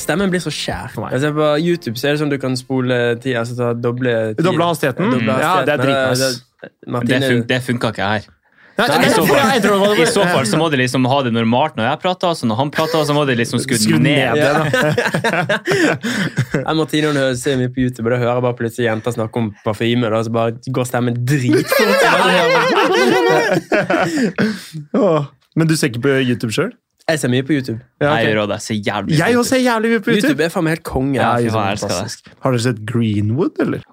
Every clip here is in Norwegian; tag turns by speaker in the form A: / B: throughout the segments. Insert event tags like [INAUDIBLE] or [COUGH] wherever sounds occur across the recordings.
A: Stemmen blir så skjær.
B: For meg.
A: Altså, på YouTube så er det sånn du kan spole ti, altså, ta doble ti-
B: Doble hastigheten?
A: doble
B: Ja, det er
A: hastigheten.
B: dritnice.
A: Det- det-
C: Det,
A: Martine,
C: fun det funka ikke her.
B: Nei,
A: Nei,
B: jeg
C: i så
B: tror- jeg tror det var-
C: I så fall så må de liksom ha det normalt når jeg prater, så når han prater, så må de liksom skru
B: Skru
C: den [LAUGHS]
B: ned
C: ned.
B: det, da.
A: Ja, Martine hun hører, ser mye på YouTube, og da hører jeg bare plutselig jenter snakke om parfyme, da, så bare går stemmen dritfort. Så bare hører jeg-
B: Åh. Men du ser ikke på YouTube sjøl?
A: Jeg ser mye på YouTube.
B: Ja,
C: Jeg
B: ok.
C: gjør også det. Så jævlig
B: Jeg også ser jævlig mye på YouTube.
A: YouTube er faen altså. meg helt konge.
B: Ja,
C: fy
B: YouTube
C: faen,
B: er
C: jeg elsker det.
B: fantastisk. Har dere sett Greenwood, eller? Det er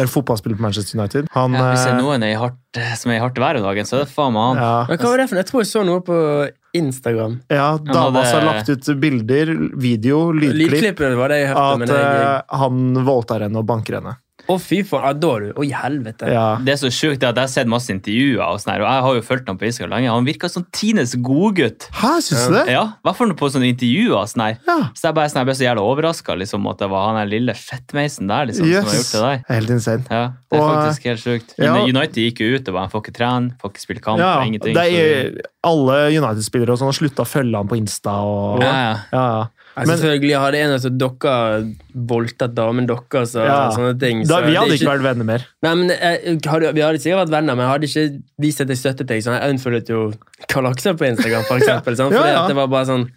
B: en fotballspiller på Manchester United. Han,
C: Ja, hvis det er
B: eh,
C: noen er i hardt, som er i hardt vær om dagen, så er det faen meg han.
B: ja,
A: Men hva var det for noe? Jeg tror jeg så noe på Instagram.
B: ja, dama
C: hadde-
B: som har lagt ut bilder, video, lydklipp
A: Lydklippet var det jeg hørte.
B: at
A: Men jeg,
B: eh, han voldtar henne og banker henne.
A: å, fy faen. Ja, da, du. Å, i helvete.
B: Ja.
C: Det er så sjukt det er at jeg har sett masse intervjuer, og sånn her, og jeg har jo fulgt ham på Instagram lenge. Han virker som Tines godgutt.
B: Hæ, syns du det?
C: Ja, i hvert fall på sånne intervjuer. og Sånn her.
B: Ja.
C: Så jeg, bare, sånn, jeg ble så jævla overraska liksom, at det var han der lille fettmeisen der liksom, som har
B: Jøss.
C: gjort det der.
B: Helt insane.
C: Ja, det er
B: Og,
C: faktisk helt sjukt.
B: ja.
C: United gikk jo ut og bare 'får ikke trene, får ikke spille kamp',
B: Ja,
C: ingenting.
B: det er, alle United-spillere og sånn har slutta å følge han på Insta. Og,
C: ja, ja.
B: Ja, ja.
A: Ja, Altså, selvfølgelig hadde en av dere voldtatt damen deres og
B: Ja.
A: sånne ting.
B: da,
A: så
B: vi
A: det er
B: hadde ikke vært venner mer.
A: Nei, men jeg, hadde, Vi hadde sikkert vært venner, men jeg hadde ikke vist at jeg støttet deg. Sånn, jeg unfollowet jo Kalaksa på Instagram, for eksempel. Sånn,
B: Ja,
A: fordi
B: ja.
A: at det var bare sånn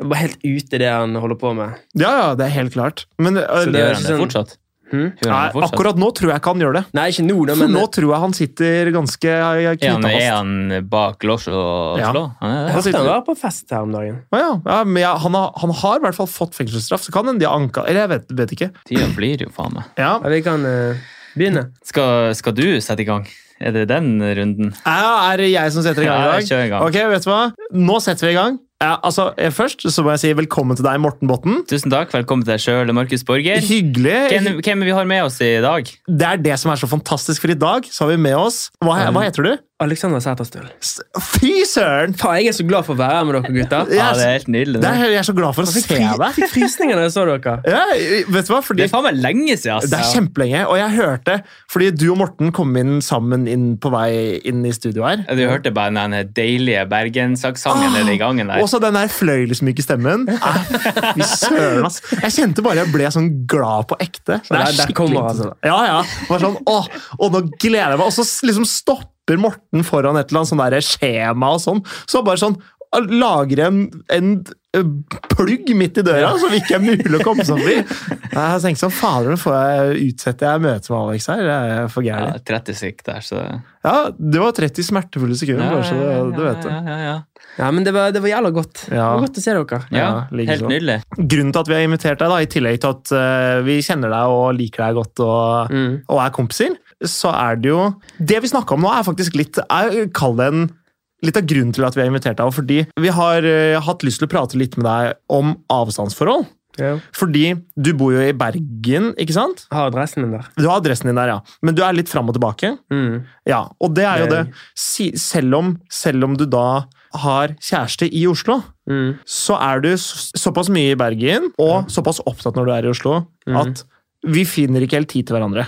A: Jeg var helt ute i det han holder på med.
B: Ja, ja, det er helt klart. Men eh,
A: Så
C: Gjør
A: det-
C: han det
A: sånn-
C: fortsatt?
A: Hm?
C: Gjør
B: nei,
C: han det fortsatt?
B: akkurat nå tror jeg ikke han gjør det.
A: Nei, ikke nå, da,
B: For
A: men
B: nå tror jeg han sitter ganske øh,
C: Er han,
B: knytta
C: er
B: fast.
C: han bak lås og
B: Ja.
C: slå? Han
A: eh,
C: er det.
A: jeg hørte
B: sitter-
A: han var på fest her om dagen.
B: Å ja, ja, men ja, han, har, han har i hvert fall fått fengselsstraff, så kan hende de har anka Eller jeg vet, vet ikke.
C: Tida flyr jo, faen meg.
B: Ja.
A: Ja, vi kan eh, begynne.
C: Skal, skal du sette i gang? Er det den runden?
B: Ja, er det jeg som setter i gang
C: Ja,
B: i dag?
C: kjør i gang.
B: Ok, vet du hva? Nå setter vi i gang. Ja, altså, eh, først så må jeg si velkommen til deg, Morten Botten.
C: Tusen takk. Velkommen til deg sjøl, Markus Borger.
B: Hyggelig.
C: Hvem, hvem vi har med oss i dag?
B: Det er det som er så fantastisk, for i dag så har vi med oss Hva, hva heter du?
A: Alexander Sæterstøl.
B: S- Fy søren!
A: Faen, jeg er så glad for å være her med dere, gutter.
C: [LAUGHS] Ja,
B: Jeg-
C: det er helt nydelig.
B: det er, jeg er så glad for å se
A: Jeg fikk fri-
B: deg.
A: fikk frysninger da jeg så dere.
B: Ja, vet du hva? Fordi
C: Det er faen meg lenge siden. altså. ass.
B: Det er kjempelenge, og jeg hørte Fordi du og Morten kom inn sammen inn på vei inn i studio her.
C: Ja, Du hørte bare den der deilige bergensakssangen
B: Ah,
C: nede i gangen der.
B: Og så den der fløyelsmyke
C: [LAUGHS]
B: stemmen. Ah, Fy søren, ass. Jeg kjente bare jeg ble sånn glad på ekte. Det
A: der- der kommer han, altså.
B: Ja, ja. Bare sånn, åh, og nå gleder jeg meg. Og så s- liksom stopper Morten foran et eller annet sånn der skjema og sånn. Så bare sånn ah, lager en, en eh, plugg midt i døra, som ikke er mulig å komme seg forbi. Jeg tenkte sånn, fader, nå får jeg utsette jeg møtet med Alex her. Det er for
C: Ja,
B: gærent.
C: 30 stykk der, så
B: Ja, det var 30 smertefulle sekunder, bare så det, det vet du.
C: ja, ja, ja.
A: Ja, men det var, det var jævla godt. Det
B: Ja.
A: var godt å se dere.
C: ja,
B: Ja, like
C: helt
B: så.
C: nydelig.
B: Grunnen til at vi har invitert deg, da, i tillegg til at eh, vi kjenner deg og liker deg godt og,
A: Mm.
B: og er kompiser, så er det jo Det vi snakka om nå, er faktisk litt jeg kaller det en Litt av grunnen til at vi har invitert deg, og fordi vi har eh, hatt lyst til å prate litt med deg om avstandsforhold.
A: Ja.
B: Fordi du bor jo i Bergen, ikke sant?
A: Har adressen min der.
B: Du har adressen din der, ja. Men du er litt fram og tilbake.
A: Mm.
B: Ja, og det er jo
A: Det
B: det.
A: er-
B: Si, selv, om, selv om du da har kjæreste i Oslo,
A: Mm.
B: så er du s- såpass mye i Bergen og såpass opptatt når du er i Oslo,
A: Mhm.
B: at vi finner ikke helt tid til hverandre.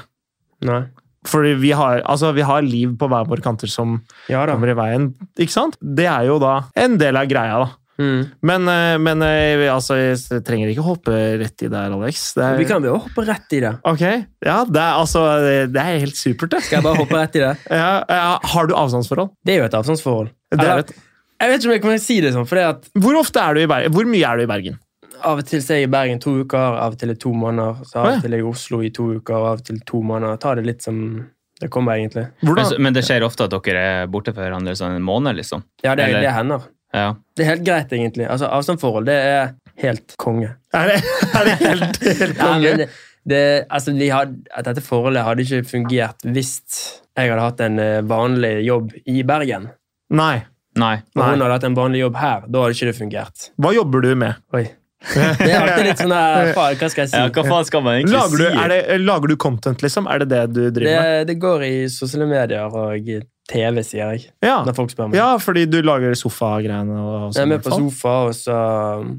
A: Nei.
B: Fordi vi har, altså, vi har liv på hver våre kanter som
A: Ja da.
B: kommer i veien. Ikke sant? Det er jo da en del av greia, da.
A: Mm.
B: Men, eh, men eh, vi- altså, jeg trenger ikke hoppe rett i der, Alex. Det er,
A: Vi kan jo hoppe rett i det.
B: Ok, ja, det er, altså, det er helt supert, det.
A: Skal jeg bare hoppe rett i det?
B: Ja, ja, har du avstandsforhold?
A: Det er jo et avstandsforhold.
B: Det er
A: Eller,
B: et-
A: jeg vet ikke om jeg kan si det sånn, for det at
B: Hvor ofte er du i Bergen? Hvor mye er du i Bergen?
A: av og til så er jeg i Bergen to uker, av og til er to måneder. Så av
B: Å, ja.
A: og til er jeg i Oslo i to uker, og av og til to måneder. Ta det litt som det kommer, egentlig.
C: Men,
B: Hvordan?
C: så- men det skjer ofte at dere er borte for hverandre sånn en måned, liksom.
A: Ja, det,
C: Eller-
A: det hender.
C: Ja.
A: Det er helt greit, egentlig. Altså, avstandsforhold, det er helt konge.
B: Er det, er det helt, helt
A: Ja,
B: konge?
A: men det, det, altså, vi had, at dette forholdet hadde ikke fungert hvis jeg hadde hatt en eh, vanlig jobb i Bergen.
B: Nei.
C: Nei.
A: Og
B: Nei.
A: hun hadde hatt en vanlig jobb her. Da hadde ikke det fungert.
B: Hva jobber du med?
A: Oi.
B: [LAUGHS]
A: Det er alltid litt sånn der, faen, Hva skal jeg si?
C: Ja, hva faen skal man egentlig
B: Lager du,
C: si?
B: er det, lager du content, liksom? Er det det du driver
A: Det,
B: med?
A: det går i sosiale medier og TV, sier jeg.
B: Ja.
A: Når folk spør meg.
B: Ah. ja, fordi du lager sofagreiene og og
A: jeg er
B: sånn. i
A: med
B: hvert
A: på
B: fall.
A: sofa, og så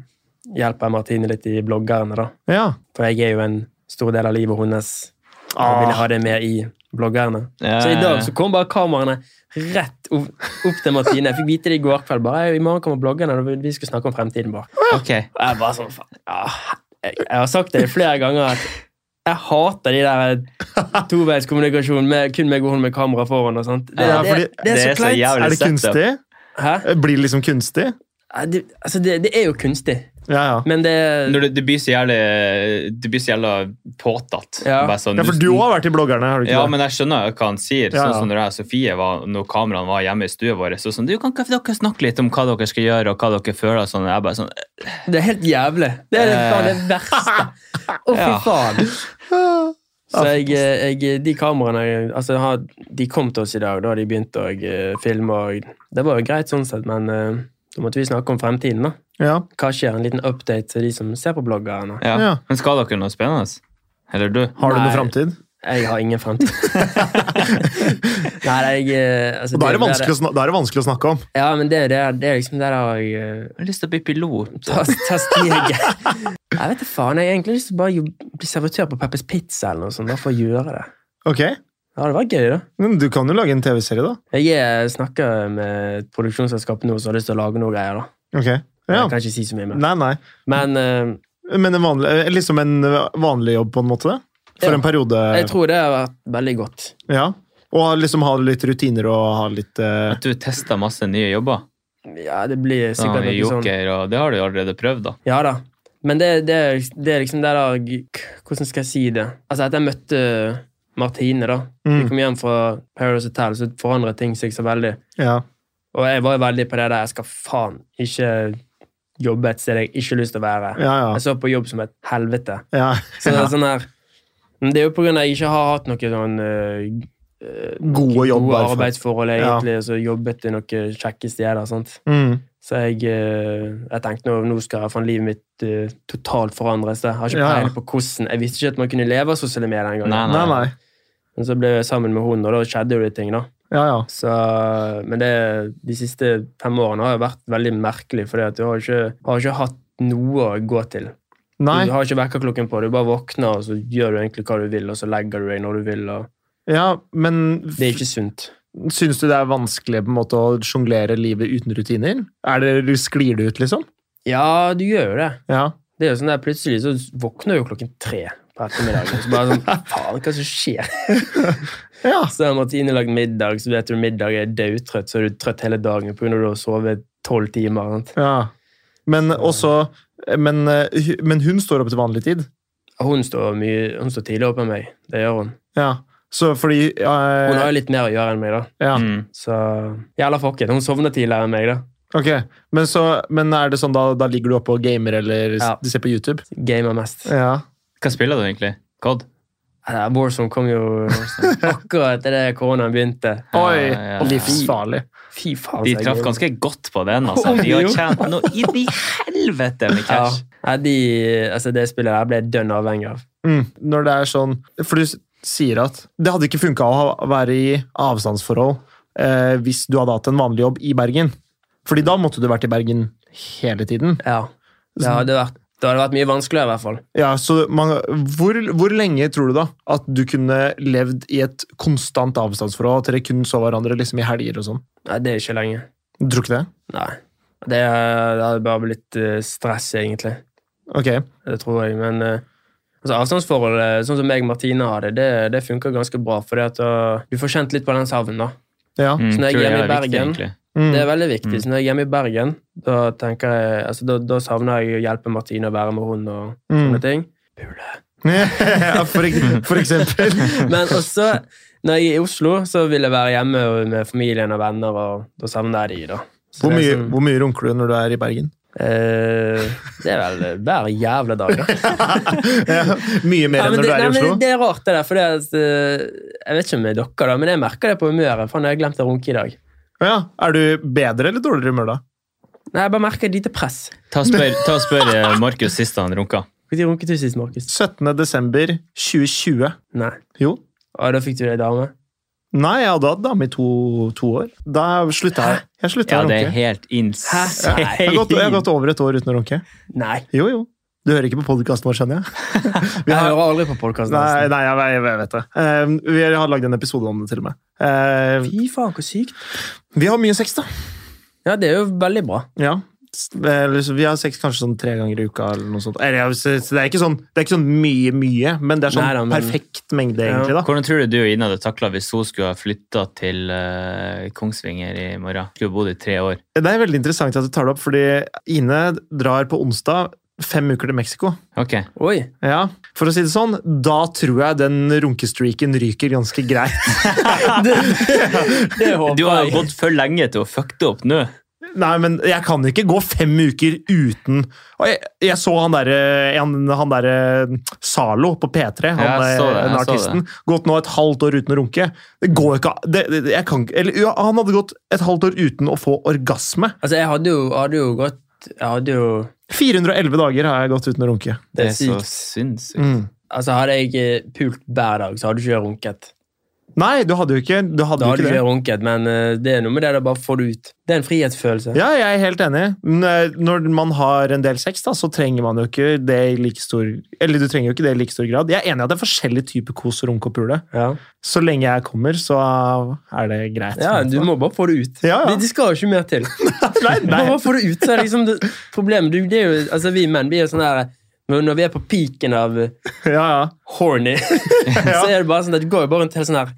A: hjelper jeg Martine litt i bloggerne, da.
B: Ja.
A: For jeg er jo en stor del av livet hennes. Og
B: Ah.
A: ville ha det med i bloggerne.
C: Ja,
A: Så i
C: ja, ja.
A: dag så kom bare kameraene rett opp, opp til Martine. Jeg fikk vite det i går kveld. bare, «Hei, I morgen kommer bloggerne, og vi skal snakke om fremtiden vår.
C: Ok.
A: Og jeg bare sånn, faen. Ja, jeg, jeg har sagt det flere ganger at jeg hater de der toveiskommunikasjonen med kun meg og hun med kamera foran og sånt. Det,
B: Ja,
A: det,
B: fordi-
A: det er så kleint.
C: jævlig
B: Er det
C: setup.
B: kunstig?
A: Hæ?
B: Blir det liksom kunstig?
A: Ja, Det, altså, det, det er jo kunstig,
B: Ja, ja.
A: men det
C: Når det, det blir så jævlig Det blir så jævla påtatt.
A: Ja.
C: Bare sånn-
B: Ja, for du òg har vært i bloggerne, har du ikke
C: Ja,
B: det?
C: men jeg skjønner hva han sier.
B: Ja, ja.
C: Sånn som når jeg og Sofie var, når kameraene var hjemme i stua vår, så sånn, du kan ikke dere snakke litt om hva dere skal gjøre, og hva dere føler, og sånn. Jeg bare sånn,
A: Det er helt jævlig. Det er det,
C: Eh.
A: faen, det verste. Å, fy
C: Ja.
A: faen. Så
B: [LAUGHS] Ja,
A: jeg, eh, jeg, de kameraene altså, har- De kom til oss i dag, da hadde de begynt å eh, filme. Og det var jo greit, sånn sett, men eh, da måtte vi snakke om fremtiden. da.
B: Ja.
A: Hva skjer? En liten update til de som ser på bloggerne.
C: ja.
B: Ja.
C: Men skal dere noe spennende? Eller du?
B: Har du
A: Nei.
B: noe framtid?
A: Jeg har ingen
B: [LAUGHS]
A: fremtid. Nei, jeg eh, altså,
B: Og da er, det vanskelig å sna- da er det vanskelig å snakke om.
A: Ja, men det, er jo det, det er liksom der har jeg eh,
C: Jeg har lyst til å bli pilot.
A: Ta, [LAUGHS] ta steget.
B: [LAUGHS]
A: Jeg vet da faen. Jeg har egentlig lyst til å bare jobb- bli servitør på Peppers Pizza eller noe sånt, bare for å gjøre det.
B: Ok,
A: Ja, det var gøy, da.
B: Men du kan jo lage en TV-serie, da.
A: Jeg eh, snakker med et produksjonsselskap nå som har lyst til å lage noe greier, da.
B: Ok, ja.
A: Jeg kan ikke si så mye mer.
B: Nei, nei.
A: Men eh,
B: Men en vanlig, eh, liksom en eh, vanlig jobb, på en måte? For
A: Ja.
B: en periode?
A: jeg tror det har vært veldig godt.
B: Ja. Og liksom ha litt rutiner og ha litt eh,
C: At du tester masse nye jobber.
A: Ja, det blir
C: Sånn,
A: sikkert noe sånn.
C: joker, og det har du jo allerede prøvd, da.
A: Ja da. Men det, det, er- det er liksom der da k- Hvordan skal jeg si det? Altså, etter jeg møtte Martine, da Vi
B: mm,
A: kom hjem fra Paradise Hotel, så forandret ting seg så veldig.
B: Ja.
A: Og jeg var jo veldig på det der Jeg skal faen ikke jobbe et sted jeg ikke har lyst til å være.
B: Ja, ja.
A: Jeg så på jobb som et helvete.
B: ja.
A: Så det er sånn her Men det er jo på grunn av at jeg ikke har hatt noe sånn eh, eh,
B: Gode
A: gode
B: jobber.
A: arbeidsforhold,
B: Ja.
A: egentlig, og så jobbet jeg noen kjekke steder. Sant?
B: Mm.
A: Så jeg, eh, jeg tenkte nå, nå skal jeg faen livet mitt eh, totalt forandres. Jeg har ikke
B: Ja, ja.
A: peiling på hvordan. Jeg visste ikke at man kunne leve av sosiale medier den gangen.
C: Nei,
B: Nei, nei.
A: Men så ble jeg sammen med hun, og da skjedde jo de ting, da.
B: Ja, ja.
A: Så, men det, de siste fem årene har jo vært veldig merkelig, for du har ikke, har ikke hatt noe å gå til.
B: Nei.
A: Du har ikke vekkerklokken på, du bare våkner, og så gjør du egentlig hva du vil, og så legger du deg når du vil. Og
B: Ja, men
A: det er ikke sunt.
B: syns du det er vanskelig på en måte å sjonglere livet uten rutiner? Er det, sklir det ut, liksom?
A: Ja, du gjør jo det.
B: Ja.
A: Det er jo sånn der, Plutselig så våkner du jo klokken tre på ettermiddagen. Så bare
B: [LAUGHS]
A: sånn, faen, hva som skjer?
B: ja.
A: Så har Martine lagd middag, så vet du middag er dødtrøtt, så er du trøtt hele dagen pga. at du har sovet tolv timer. Sant?
B: Ja. Men også men, eh, hu- men hun står opp til vanlig tid.
A: Hun står, mye, hun står tidlig opp enn meg. Det gjør hun.
B: Ja. Så fordi eh,
A: Hun har jo litt mer å gjøre enn meg, da.
B: ja.
C: Mm.
A: Så jævla fuck it. Hun sovner tidligere enn meg, da.
B: Ok. Men, så, men er det sånn da, da ligger du oppe og gamer eller s-
A: Ja.
B: du ser på YouTube?
A: Gamer mest.
B: Ja.
C: Hva spiller du egentlig? Cod?
A: Ja, Warzone kom jo akkurat etter det koronaen begynte.
B: Oi!
C: Ja, ja, ja.
B: Livsfarlig.
A: Fy faen, så altså,
C: De
A: jeg
C: traff
A: gamer.
C: ganske godt på den, altså.
A: Om
C: De har
A: jo.
C: tjent noe inn i helvete med
A: ja.
C: cash.
A: ja, de, altså Det spillet der ble jeg dønn avhengig av.
B: Mm. Når det er sånn For du s- sier at det hadde ikke funka å ha- være i avstandsforhold eh, hvis du hadde hatt en vanlig jobb i Bergen. Fordi da måtte du vært i Bergen hele tiden.
A: Ja. Det hadde vært, det hadde vært mye vanskeligere, i hvert fall.
B: Ja, så man, hvor, hvor lenge tror du da at du kunne levd i et konstant avstandsforhold? At dere kun så hverandre liksom i helger og sånn?
A: Nei, det er ikke lenge.
B: Du tror ikke det?
A: Nei. Det, det hadde bare blitt eh, stress, egentlig.
B: Ok.
A: Det tror jeg. Men eh, altså, avstandsforholdet, sånn som meg og Martine har det, det, det funker ganske bra. For du får kjent litt på den savnen, da.
B: Ja.
C: Mm,
A: Så når jeg er
C: tror
A: hjemme
C: det
A: i
C: viktig,
A: Bergen-
C: egentlig.
B: Mm.
A: Det er veldig viktig.
C: Mm.
A: Så når jeg er hjemme i Bergen, da, tenker jeg, altså, da, da savner jeg å hjelpe Martine å være med hun og
B: Mm.
A: sånne ting.
B: [LAUGHS] ja, for, ek- for
A: [LAUGHS]
B: eksempel.
A: Men også, når jeg er i Oslo, så vil jeg være hjemme med familien og venner, og da savner jeg de, da. Så
B: Hvor
A: det
B: mye,
A: er sånn,
B: hvor mye runker du når du er i Bergen? [LAUGHS]
A: eh, det er vel hver jævla dag, da.
B: ja, mye mer
A: Ja,
B: enn
A: men det,
B: når du er
A: nei,
B: i
A: men
B: Oslo?
A: det er rart, det der. For det er, at, eh, jeg vet ikke om det er dere, da, men jeg merker det på humøret. Faen, jeg har glemt å runke i dag.
B: Ja. Er du bedre eller dårligere i humør da?
A: Nei, Jeg bare merker et lite press.
C: Ta og spør, ta og spør eh, Markus sist han runka.
A: Når runket du sist, Markus?
B: 17. desember 2020.
A: Nei.
B: Jo.
A: Og da fikk du deg dame?
B: Nei, jeg hadde hatt dame i to, to år. Da slutta jeg. Jeg slutta
C: Ja,
B: å
C: det er
B: runke.
C: helt
B: Jeg har, gått, jeg har
C: insane.
B: gått over et år uten å runke.
A: Nei.
B: Jo, jo. Du hører ikke på podkasten vår, skjønner jeg? Vi
A: Jeg
B: har,
A: hører aldri på podkasten.
B: nei, nei jeg, jeg, jeg vet det. Eh, vi har lagd en episode om det, til og med. Eh,
A: Fy faen, hvor sykt.
B: vi har mye sex, da.
A: Ja, det er jo veldig bra.
B: Ja. S- eller så- Vi har sex kanskje sånn tre ganger i uka. eller noe sånt. Eller, ja, så- så det, er ikke sånn, det er ikke sånn mye, mye, men det er sånn
A: Nei da, men-
B: perfekt mengde,
A: Ja.
B: egentlig. da.
C: Hvordan tror du du og Ina hadde takla hvis hun skulle ha flytta til eh, Kongsvinger i morgen? Skulle bodd i tre år.
B: Det er veldig interessant at du tar det opp, fordi Ine drar på onsdag fem uker til Mexico.
C: Ok.
A: Oi.
B: [LAUGHS] Ja, For å si det sånn, da tror jeg den runkestreaken ryker ganske greit. [LAUGHS]
A: Det, det håper
C: Du har
A: jeg.
C: jo gått for lenge til å fucke det opp nå.
B: Nei, men jeg kan ikke gå fem uker uten Og jeg, jeg så han derre han, han der, eh, Zalo på P3, han
C: Ja, jeg så det,
B: der, den
C: jeg så
B: artisten. Gått nå et halvt år uten å runke. Det går ikke a- det, det, jeg kan, ikke- eller, ja, Han hadde gått et halvt år uten å få orgasme.
A: Altså, jeg hadde jo, hadde jo gått Jeg hadde jo
B: 411 dager har jeg gått uten å runke.
A: Det
C: Det
A: er
C: er så
A: sykt.
C: sinnssykt.
B: Mm.
A: Altså, hadde jeg eh, pult hver dag, så hadde ikke jeg runket.
B: Nei, du hadde jo ikke, du hadde
A: Da
B: jo
A: hadde
B: ikke
A: ikke
B: det.
A: jeg runket, men eh, det er noe med det å bare få det ut. Det er en frihetsfølelse.
B: Ja, jeg er helt enig. Men, eh, Når man har en del sex, da, så trenger man jo ikke det i like stor Eller du trenger jo ikke det i like stor grad. Jeg er enig i at det er forskjellig type kos å runke og pule.
A: Ja.
B: Så lenge jeg kommer, så er det greit.
A: ja, du må bare få det ut.
B: Ja, ja.
A: Det, det skal jo ikke mer til.
B: [LAUGHS] Nei,
A: Du må
B: nei.
A: bare få det ut. Så er det liksom det, problemet du, det er jo, altså, Vi menn blir jo sånn der når når vi er på piken av eh,
B: Ja,
A: [LAUGHS]
B: ja. [LAUGHS]
A: horny, så er det bare sånn at du går jo bare rundt helt sånn her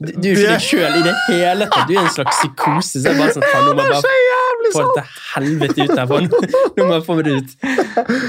A: Du, du er jo ikke deg sjøl i det hele tatt. Du er en slags psykose. Så er det bare sånn, faen, nå må jeg bare
B: jævlig
A: få det til helvete ut herfra. Nå, [LAUGHS] nå må jeg få det ut.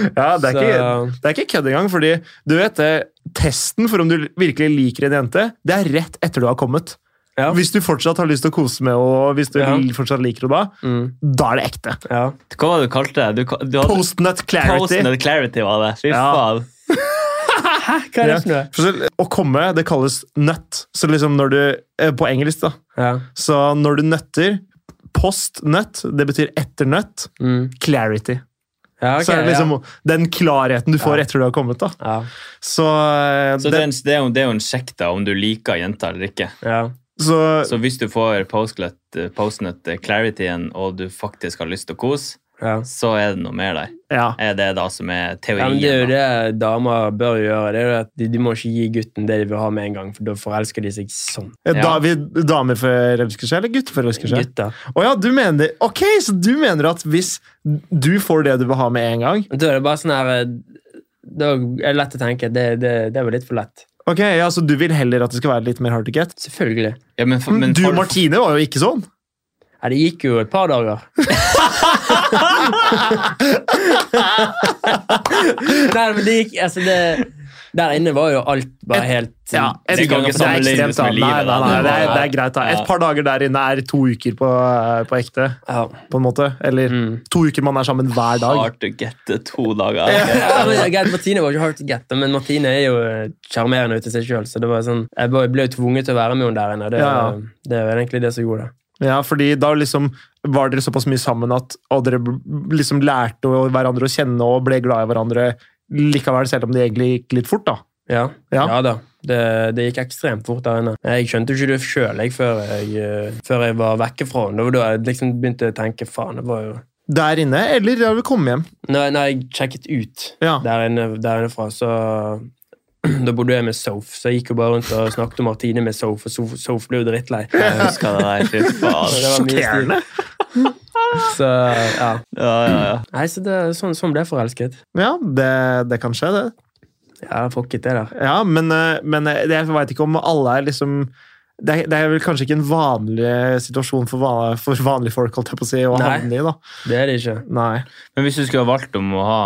B: Ja, det er ikke,
A: Så-
B: det er ikke kødd engang, fordi du vet det, testen for om du virkelig liker en jente, det er rett etter du har kommet.
A: Ja.
B: Hvis du fortsatt har lyst til å kose med og hvis du
A: Ja.
B: l- fortsatt liker henne da,
A: Mm,
B: da er det ekte.
A: ja.
C: Hva var det du kalte det? Du, ka- du hadde
B: Postnut clarity.
C: Posten and clarity, var det. Fy
B: Ja.
C: faen.
A: Hva er det for noe?
B: For så- Å komme, det kalles nøtt. Så liksom når du, eh, på engelsk da,
A: Ja.
B: så når du nøtter, postnøtt, det betyr etter nøtt,
A: Mm.
B: clarity.
A: ja ok,
B: så er det liksom
A: ja.
B: den klarheten du får etter du har kommet da.
A: Ja.
B: Så, eh,
C: Så det,
B: det,
C: er en, det, er jo, det er jo en sjekk da, om du liker jenter eller ikke.
A: Ja.
B: så,
C: Så hvis du får postlet, eh, postnet clarityen, og du faktisk har lyst til å kose,
A: Ja.
C: så er det noe mer der.
B: ja.
C: Er det da som er
A: Ja,
C: teorien?
A: men det er jo
C: da?
A: det damer bør gjøre. Det er jo at de, de må ikke gi gutten det de vil ha med en gang, for da forelsker de seg sånn.
B: Eh, Da,
C: Ja.
B: vi, damer forelsker seg, eller gutter forelsker seg?
A: Gutter.
B: Å ja, du mener Ok, så du mener at hvis du får det du vil ha med en gang
A: Da er det bare sånn her eh, Da er det lett å tenke at det, det, det var litt for lett.
B: Ok, ja, så du vil heller at det skal være litt mer hard to get?
A: Selvfølgelig.
C: Ja, men, for- men
B: Du,
C: for-
B: Martine, var jo ikke sånn.
A: Ja, det gikk jo et par
B: [LAUGHS]
A: dager. Nei, men det gikk Altså, det Der inne var jo alt bare helt
B: Ja,
C: Det
B: et-
C: kan ikke
B: det er
C: sammenlignes
B: ekstremt, da.
C: med
B: Nei, nei,
C: livet, da.
B: nei,
C: Det
B: det, er,
C: var-
B: det er greit, da. Et
C: Ja.
B: par dager der inne er to uker på, eh, på ekte,
A: ja.
B: på en måte. Eller
A: Mm.
B: to uker man er sammen hver dag.
C: Hard to get det to dager.
A: Ja, men greit, Martine var ikke hard to get, men Martine er jo eh, sjarmerende ute i seg sjøl. Så det var sånn, jeg bare ble jo tvunget til å være med henne der inne. Det,
B: Ja.
A: det er jo egentlig det som gjorde det.
B: [LAUGHS] Ja, fordi da liksom var dere såpass mye sammen at og dere bl- liksom lærte å- hverandre å kjenne og ble glad i hverandre likevel, selv om det egentlig gikk litt fort, da.
A: Ja, ja.
B: Ja.
A: da. Det, det gikk ekstremt fort der inne. Jeg skjønte jo ikke det sjøl før, jeg, eh, før jeg var vekke fra henne. Det var da jeg liksom begynte å tenke faen, det var jo
B: Der inne, eller da vi kom hjem.
A: Når, når jeg sjekket ut
B: Ja.
A: der, inne, der inne fra, så [CLEARS THROAT] da bodde jeg med Soph, så jeg gikk jo bare rundt og snakket om Martine med Soph, og Soph- Soph ble jo drittlei.
C: Jeg husker det der. Fy
A: Så
C: faen.
A: det var mye
B: Sjokkerende.
A: styr. Så, ja.
C: Ja, ja, ja.
A: Nei, så det, sånn, sånn ble jeg forelsket.
B: Ja, det, det kan skje, det.
A: Ja, fucket det der.
B: Ja, men, eh, men eh, jeg veit ikke om alle er liksom det er, det er vel kanskje ikke en vanlig situasjon for, van, for vanlige folk holdt jeg på å si, å
A: Nei.
B: havne i. da.
A: Det er det ikke.
B: Nei.
C: Men hvis du skulle ha valgt om å ha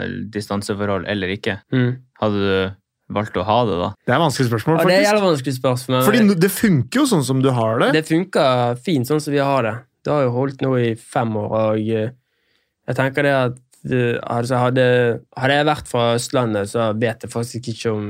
C: eh, distanseforhold eller ikke,
A: Mm.
C: hadde du valgt å ha det da?
B: Det er et vanskelig spørsmål,
A: Ja, det er
B: faktisk.
A: jævlig vanskelig spørsmål. men
B: Fordi no- det funker jo sånn som du har det.
A: det funker fint sånn som vi har det. Det har jo holdt nå i fem år, og eh, jeg tenker det at eh, altså hadde, hadde jeg vært fra Østlandet, så vet jeg faktisk ikke om,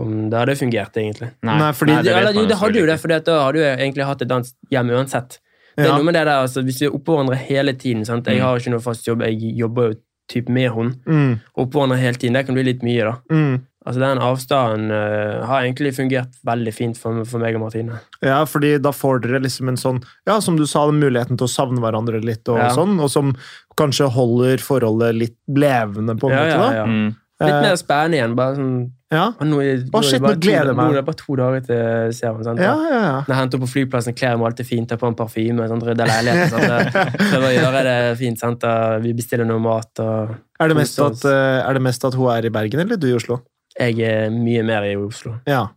A: om det hadde fungert, egentlig.
B: Nei, fordi-
A: det,
C: vet
A: eller,
C: man
A: jo,
C: jo
A: det hadde
C: selvfølgelig
A: jo det,
C: ikke.
A: for da hadde jo jeg egentlig hatt et annet hjem uansett. Det er
B: Ja.
A: noe med det der, altså, Hvis vi er oppå hverandre hele tiden sant? Jeg
C: Mm.
A: har ikke noe fast jobb, jeg jobber jo typ med henne.
B: Mm,
A: Oppå hverandre hele tiden, det kan bli litt mye, da.
B: mm.
A: Altså, den avstanden eh, har egentlig fungert veldig fint for, for meg og Martine.
B: Ja, fordi da får dere liksom en sånn Ja, som du sa, den muligheten til å savne hverandre litt, og
A: Ja.
B: sånn, og som kanskje holder forholdet litt levende, på en
A: Ja,
B: måte.
A: ja,
B: da.
A: ja.
C: Mm.
A: Litt mer spennende igjen. Bare sånn
B: Ja.
A: «Å, Nå er, nå er
B: shit,
A: det bare
B: nå
A: to,
B: gleder jeg meg.»
A: nå er det bare to dager til serien. Sant?
B: Ja, ja, ja.
A: Når jeg henter opp på flyplassen, kler jeg meg alltid fint, tar på en parfyme, sånn, rydder leiligheten.
B: [LAUGHS]
A: Sant? Prøver å gjøre det fint. Sant? Og Vi bestiller noe mat. og
B: Er det, mest
A: Kose oss.
B: at, eh, er det mest at hun er i Bergen, eller du i Oslo?
A: Jeg er mye mer i Oslo.
B: Ja,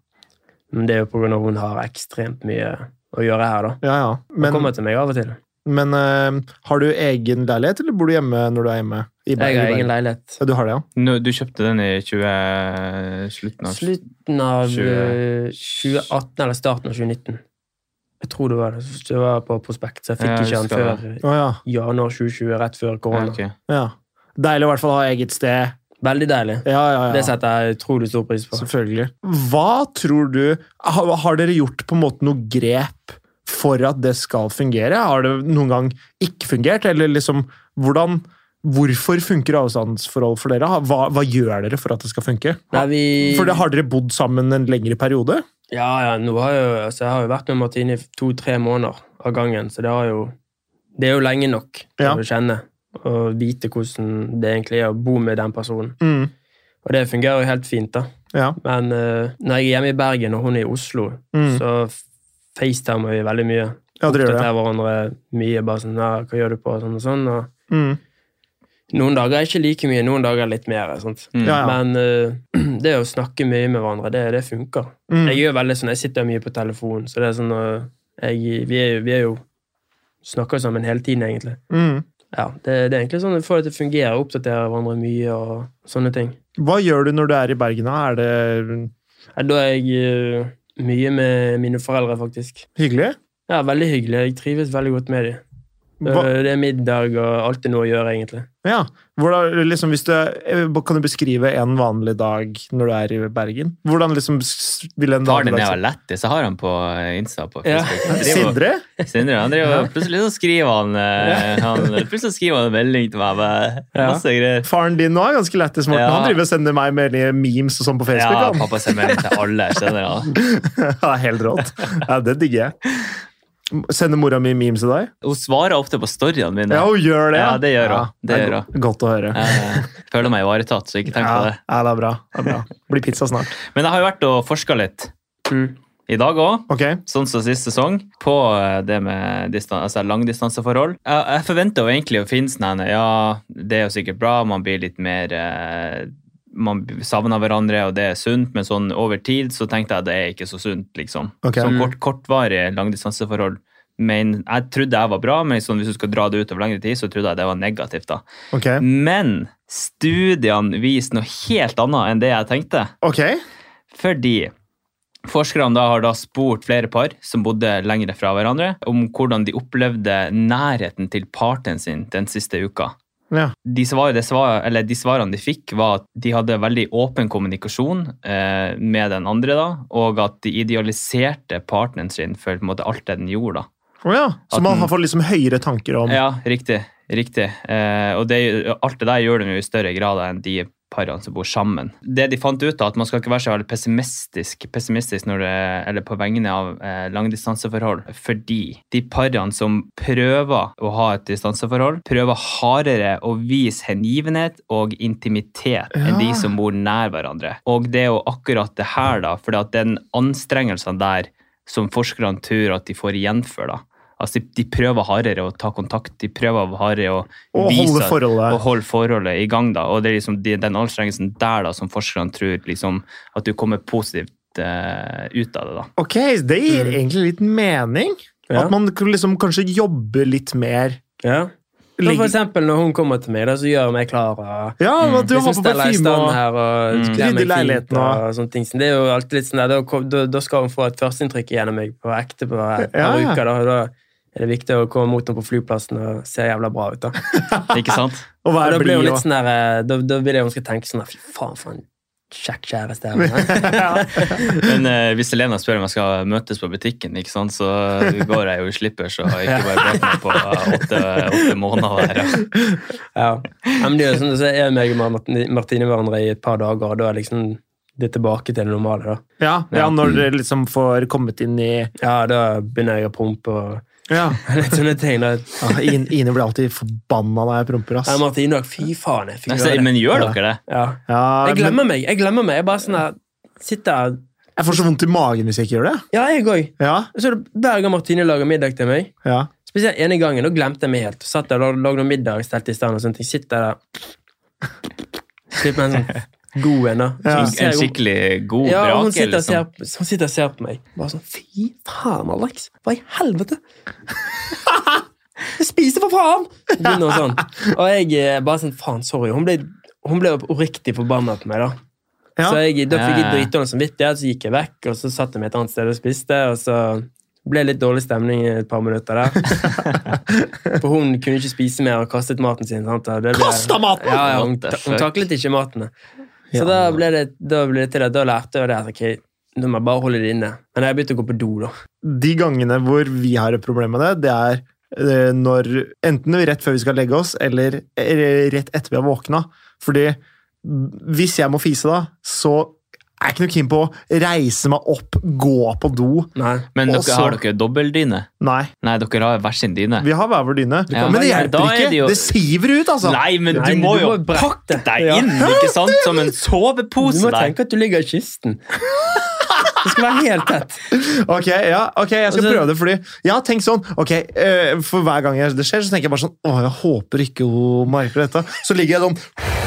A: Men det er jo på grunn av at hun har ekstremt mye å gjøre her, da.
B: ja, ja.
A: Hun
B: Men,
A: kommer til meg av og til.
B: men eh, har du egen leilighet, eller bor du hjemme når du er hjemme? I
A: Jeg
B: Bergen, i
A: har
B: Bergen?
A: egen leilighet.
B: Ja, du har det, ja?
C: Nå, du kjøpte den i 20... slutten av
A: Slutten av eh,
C: 20
A: 2018 eller starten av 2019. Jeg tror det var det. Det var på Prospekt, så jeg fikk ikke
C: Ja, jeg
A: den
C: husker
A: før
B: Å, ja.
A: januar 2020, rett før
C: Ja,
A: korona.
C: ok.
B: ja. Deilig å i hvert fall ha eget sted.
A: Veldig deilig.
B: Ja, ja, ja.
A: Det setter jeg utrolig stor pris på.
B: Selvfølgelig. Hva tror du Har, har dere gjort på en måte noe grep for at det skal fungere? Har det noen gang ikke fungert? Eller liksom, hvordan Hvorfor funker avstandsforhold for dere? Hva, hva gjør dere for at det skal funke?
A: Nei, vi...
B: For det, Har dere bodd sammen en lengre periode?
A: Ja, ja, nå har jeg, jo, altså, jeg har jo vært med Martine i to-tre måneder av gangen, så det, har jo, det er jo lenge nok til
B: Ja.
A: å kjenne og vite hvordan det egentlig er å bo med den personen.
B: Mm,
A: Og det fungerer jo helt fint, da.
B: ja.
A: Men eh, når jeg er hjemme i Bergen og hun er i Oslo,
B: Mm.
A: så facetimer vi veldig mye.
B: ja, dere gjør det.
A: Oppdaterer hverandre mye. bare sånn, ja, 'Hva gjør du på?' og sånn og sånn. Og
B: Mm,
A: noen dager er ikke like mye, noen dager er litt mer. Sant?
C: Mm.
B: Ja, ja.
A: Men eh, [CLEARS THROAT] det å snakke mye med hverandre, det, det funker.
B: Mm.
A: Jeg gjør veldig sånn, jeg sitter mye på telefonen, så det er sånn øh, jeg, vi, er, jo- vi er jo snakker sammen hele tiden, egentlig.
B: Mm.
A: Ja, det, det er egentlig sånn at får det til å fungere, oppdaterer hverandre mye og sånne ting.
B: Hva gjør du når du er i Bergen? da? Er det
A: Ja, Da er jeg øh, mye med mine foreldre, faktisk.
B: hyggelig?
A: Ja, veldig hyggelig. Jeg trives veldig godt med dem. Eh,
B: Hva,
C: Eh.
A: Det er middag og alltid noe å gjøre, egentlig.
B: ja. Hvordan, liksom, hvis du, er- kan du beskrive en vanlig dag når du er i Bergen? Hvordan liksom, s- vil en
C: Faren
B: vanlig
C: din
B: dag
C: er jo lettis. Jeg har han på eh, Insta. på
A: Ja.
C: Facebook.
B: [LAUGHS]
C: Han driver-
B: Sindre?
C: Sindre han driver, plutselig så skriver han, eh, han Plutselig så skriver han en melding til meg med masse greier.
B: Faren din nå er ganske lættis, Morten.
C: Ja.
B: Han driver og sender meg meldinger, memes og sånn på
C: Ja,
B: Facebook.
C: pappa sender melding til alle. skjønner jeg.
B: Ja, [LAUGHS] det er helt rått. Ja, det digger jeg. Sender mora mi memes til deg?
C: Hun svarer ofte på storyene mine.
B: Ja, hun gjør det.
C: Ja, det gjør hun. Det
B: er
C: gjør
B: go- Godt å høre.
C: Jeg Eh, føler meg ivaretatt, så ikke tenk
B: Ja,
C: på det.
B: ja, det er bra. Det er bra. Blir pizza snart.
C: Men jeg har jo vært og forska litt
A: Mm.
C: i dag òg,
B: Ok.
C: sånn som sist sesong, på eh, det med distan altså langdistanseforhold. Jeg, jeg forventa jo egentlig å finne sånn en Ja, det er jo sikkert bra, man blir litt mer eh, man savner hverandre, og det er sunt, men sånn over tid så tenkte jeg at det er ikke så sunt, liksom.
B: Ok.
C: Sånn
A: Mm.
C: kort, kortvarig langdistanseforhold. Men jeg trodde jeg var bra, men sånn, hvis du skal dra det ut over lengre tid, så trodde jeg det var negativt, da.
B: Ok.
C: Men studiene viser noe helt annet enn det jeg tenkte.
B: Ok.
C: Fordi forskerne da har da spurt flere par som bodde lengre fra hverandre, om hvordan de opplevde nærheten til parten sin den siste uka.
B: Ja.
C: De, svar, det svar, eller de svarene de fikk, var at de hadde veldig åpen kommunikasjon eh, med den andre, da, og at de idealiserte partneren sin for på en måte, alt det den gjorde. da.
B: Å ja. Så
C: At
B: man
C: den-
B: har fått liksom høyere tanker om
C: Ja, riktig. riktig. Eh, og det, alt det der gjør de jo i større grad enn de parene som bor sammen. Det de fant ut da, at Man skal ikke være så veldig pessimistisk, pessimistisk når det, eller på vegne av eh, langdistanseforhold, fordi de parene som prøver å ha et distanseforhold, prøver hardere å vise hengivenhet og intimitet enn de
B: Ja.
C: som bor nær hverandre. Og det er jo akkurat det her, da, for den anstrengelsen der som forskerne tror at de får igjen for. da. Altså, de, de prøver hardere å ta kontakt, de prøver hardere å
B: å holde
C: vise-
B: forholdet.
C: og holde forholdet i gang. da. Og det er liksom de, den anstrengelsen der da, som forskerne tror liksom, at du kommer positivt eh, ut av det. da.
B: Ok, det gir
A: Mm.
B: egentlig litt mening.
A: Ja.
B: At man kan liksom kanskje jobber litt mer.
A: Ja. Så for
B: Legger-
A: eksempel når hun kommer til meg, da, så gjør hun meg klar. Og,
B: Ja,
C: Mm.
B: at du
A: liksom
B: har på
A: steller i
B: parfyme
A: stand
B: og
A: her og
C: Mm.
A: kler
B: Rydder
A: meg fint.
B: leiligheten
A: Og,
B: og-
A: sånne ting. Så det er jo alltid litt sånn der, da, kom- da, da skal hun få et førsteinntrykk gjennom meg på ekte på et par
B: Ja, ja.
A: uker. Da, og da er det viktig å komme mot henne på flyplassen og se jævla bra ut. da.
C: Ikke sant?
A: Og
B: Og være
A: da blir hun
B: blid
A: litt
B: og [LAUGHS]
A: sånn der, eh, da, da vil jeg hun skal tenke sånn der, Fy faen, for en kjekk kjæreste. her,
C: [LAUGHS]
A: men,
B: ja.
C: Men eh, hvis Elena spør om jeg skal møtes på butikken, ikke sant, så går jeg jo i slippers og har ikke bare brukt meg på eh, åtte, åtte måneder. her. ja.
A: Ja. Ja, Men det er jo sånn, så er meg og Martine hverandre i et par dager, og da er liksom det tilbake til det normale. da.
B: Ja, ja, når dere liksom får kommet inn i
A: Ja, da begynner jeg å prompe og [LAUGHS]
B: ja.
A: litt sånne ting. da.
B: Ja, Ine Ine blir alltid forbanna når jeg promper, ass.
A: Nei, Martin Dag, fy faen, jeg fikk
C: Nei,
A: gjøre
C: så,
A: det.
C: men
B: Ja.
C: gjør dere det?
A: Ja.
B: Ja,
A: Jeg
B: men
A: glemmer meg. Jeg glemmer meg. Jeg bare sånn her sitter
B: jeg får så vondt i magen hvis jeg ikke gjør det.
A: Ja, jeg òg.
B: Ja,
A: Så hver gang Martine lager middag til meg
B: ja.
A: Spesielt ene gangen, da glemte jeg meg helt. Satt der og lagde middag, stelte i stand og sånt. Jeg sitter der Slipper en sånn god en, da. Så
B: Ja.
A: hun ser-
C: En skikkelig god
A: ja, og hun
C: brake?
A: sitter, og ser,
C: liksom.
A: hun sitter og ser på meg. Bare sånn Fy faen, Alex! Hva i helvete? Du spiser for faen! Begynner hun sånn. Og jeg eh, bare sånn Faen, sorry. Hun ble, hun ble oppriktig forbanna på meg, da.
B: Ja.
A: Så jeg, da fikk jeg
C: Ja, ja, ja.
A: dritdårlig samvittighet, så gikk jeg vekk, og så satt jeg meg et annet sted og spiste, og så ble det litt dårlig stemning i et par minutter
C: [LAUGHS]
A: der. For hun kunne ikke spise mer og kastet maten sin. Sant? og det ble-
B: Kastet maten?
A: Ja, ja, hun,
C: What the
A: ta- hun
C: fuck?
A: taklet ikke maten. Så da ble det, da ble det til at da lærte jeg det at ok, nå må jeg bare holde det inne. Men jeg begynte å gå på do, da.
B: De gangene hvor vi har et problem med det, det er eh, når Enten rett før vi skal legge oss, eller eh, rett etter vi har våkna. Fordi mm, hvis jeg må fise da, så er jeg ikke noe keen på å reise meg opp, gå på do.
A: Nei.
C: Men dere,
B: Også-
C: har dere dobbeldyne?
B: Nei.
C: Nei, dere har hver sin dyne.
B: Vi har hver vår dyne.
C: Ja.
B: Men det
C: Nei, da
B: hjelper
C: er
B: ikke!
C: det jo-
B: Det siver ut, altså!
C: Nei, men
A: Nei,
C: du må jo
A: brette
C: deg
A: Ja.
C: inn, ikke sant? Som en
A: Du
C: sovepose
A: må
C: der.
A: tenke at du ligger i kysten. Det skal være helt
C: [LAUGHS]
A: tett.
B: Ok, ja, ok, jeg skal
A: Altså-
B: prøve det, fordi jeg har tenkt sånn ok, eh, For hver gang jeg- det skjer, så tenker jeg bare sånn Å, jeg håper ikke hun merker dette. Så ligger jeg sånn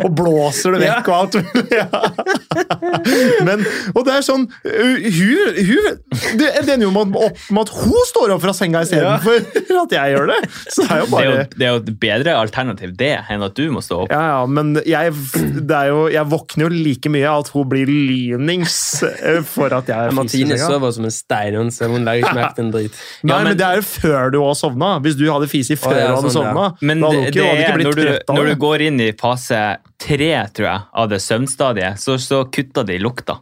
B: og blåser det vekk og alt mulig. Ja. Men, og det er sånn eh, Hun, hun det, det ender jo med, at- opp med at hun står opp fra senga istedenfor at jeg gjør det. Så det er jo
C: Det er, jo,
B: bare
C: det er jo et bedre alternativ det enn at du må stå opp.
B: ja, ja, men jeg, det er jo, jeg våkner jo like mye av at hun blir lynings eh, for at jeg
A: Martine
B: i senga.
A: sover som en stein, hun, så hun legger ikke merke til en drit.
B: Nei,
C: Ja,
B: men,
C: men-
B: det er jo før du òg sovna. Hvis du hadde fisi før
A: Å, ja,
B: du hadde
A: sånn, ja.
B: sovna,
C: Men
B: da hadde
C: det,
B: ikke-
C: det
B: hadde ikke
C: er
B: blitt
C: når du,
B: trett av
C: når du
B: det.
C: går inn i fase tre, tror jeg, av det søvnstadiet, så, så kutter de lukta.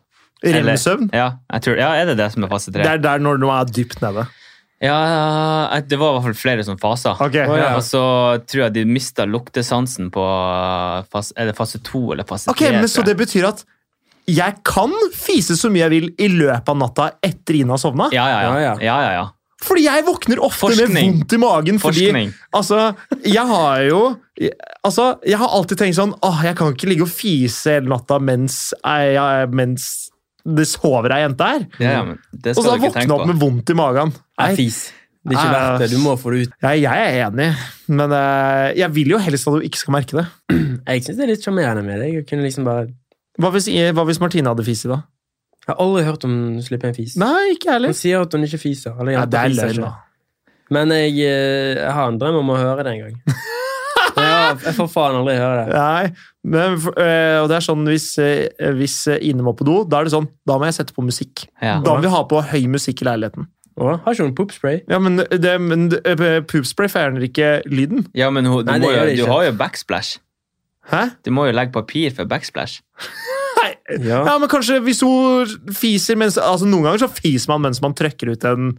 C: Eller-
B: Remsøvn.
C: Ja, jeg tror, ja, er det det som er fase tre?
B: Det er der når du er dypt nede.
C: Ja, eh, det var i hvert fall flere som fasa.
B: Ok.
C: Og,
A: Å, ja.
C: og så tror jeg de mista luktesansen på eh, fas, Er det fase to eller fase
B: Ok,
C: tre?
B: men
C: tror
B: Så
C: jeg.
B: det betyr at jeg kan fise så mye jeg vil i løpet av natta etter Ina har sovna?
C: ja, ja, ja.
A: Ja, ja.
C: ja, ja, ja.
B: Fordi jeg våkner ofte med
C: Forskning.
B: vondt i magen. Fordi,
C: Forskning.
B: Altså, jeg har jo Altså, jeg har alltid tenkt sånn Åh, jeg kan ikke ligge og fise hele natta mens, jeg, jeg, mens det sover ei jente her.
C: ja, ja men det
B: Og så
C: skal
B: har
C: du
B: jeg
C: ikke tenke
B: våkna
C: på.
B: opp med vondt i magen.
A: Nei, fis. Det er ikke
B: Nei.
A: verdt det. Du må få det ut.
B: Ja, jeg er enig, men eh, jeg vil jo helst at hun ikke skal merke det.
A: Jeg syns det er litt sjarmerende med det. Jeg kunne liksom bare
B: Hva hvis, eh, hva hvis Martine hadde fisi da?
A: Jeg har aldri hørt om hun slipper en fis.
B: Nei, ikke jeg
A: Hun
B: heller.
A: sier at hun ikke fiser. Eller
B: Ja,
A: jenter
B: det er
A: fiser
B: løgn,
A: ikke.
B: da.
A: Men jeg, eh, jeg har en drøm om å høre det
B: [LAUGHS]
A: en gang. Men jeg, jeg får faen aldri høre det.
B: Nei, men, eh, og det er sånn hvis, eh, hvis eh, Ine må på do, da er det sånn, da må jeg sette på musikk.
C: Ja.
B: Da må vi ha på høy musikk i leiligheten.
A: Å, har ikke hun poopspray?
B: Ja, men, det, men det- eh, poopspray fjerner ikke lyden.
C: Ja, men hun- du,
A: Nei, det
C: må
A: gjør
C: jo,
A: det
C: du
A: ikke.
C: har jo backsplash.
B: Hæ?
C: Du må jo legge papir for backsplash.
B: Nei!
A: Ja.
B: Ja, men kanskje hvis hun fiser mens, altså noen ganger så fiser man mens man trøkker ut en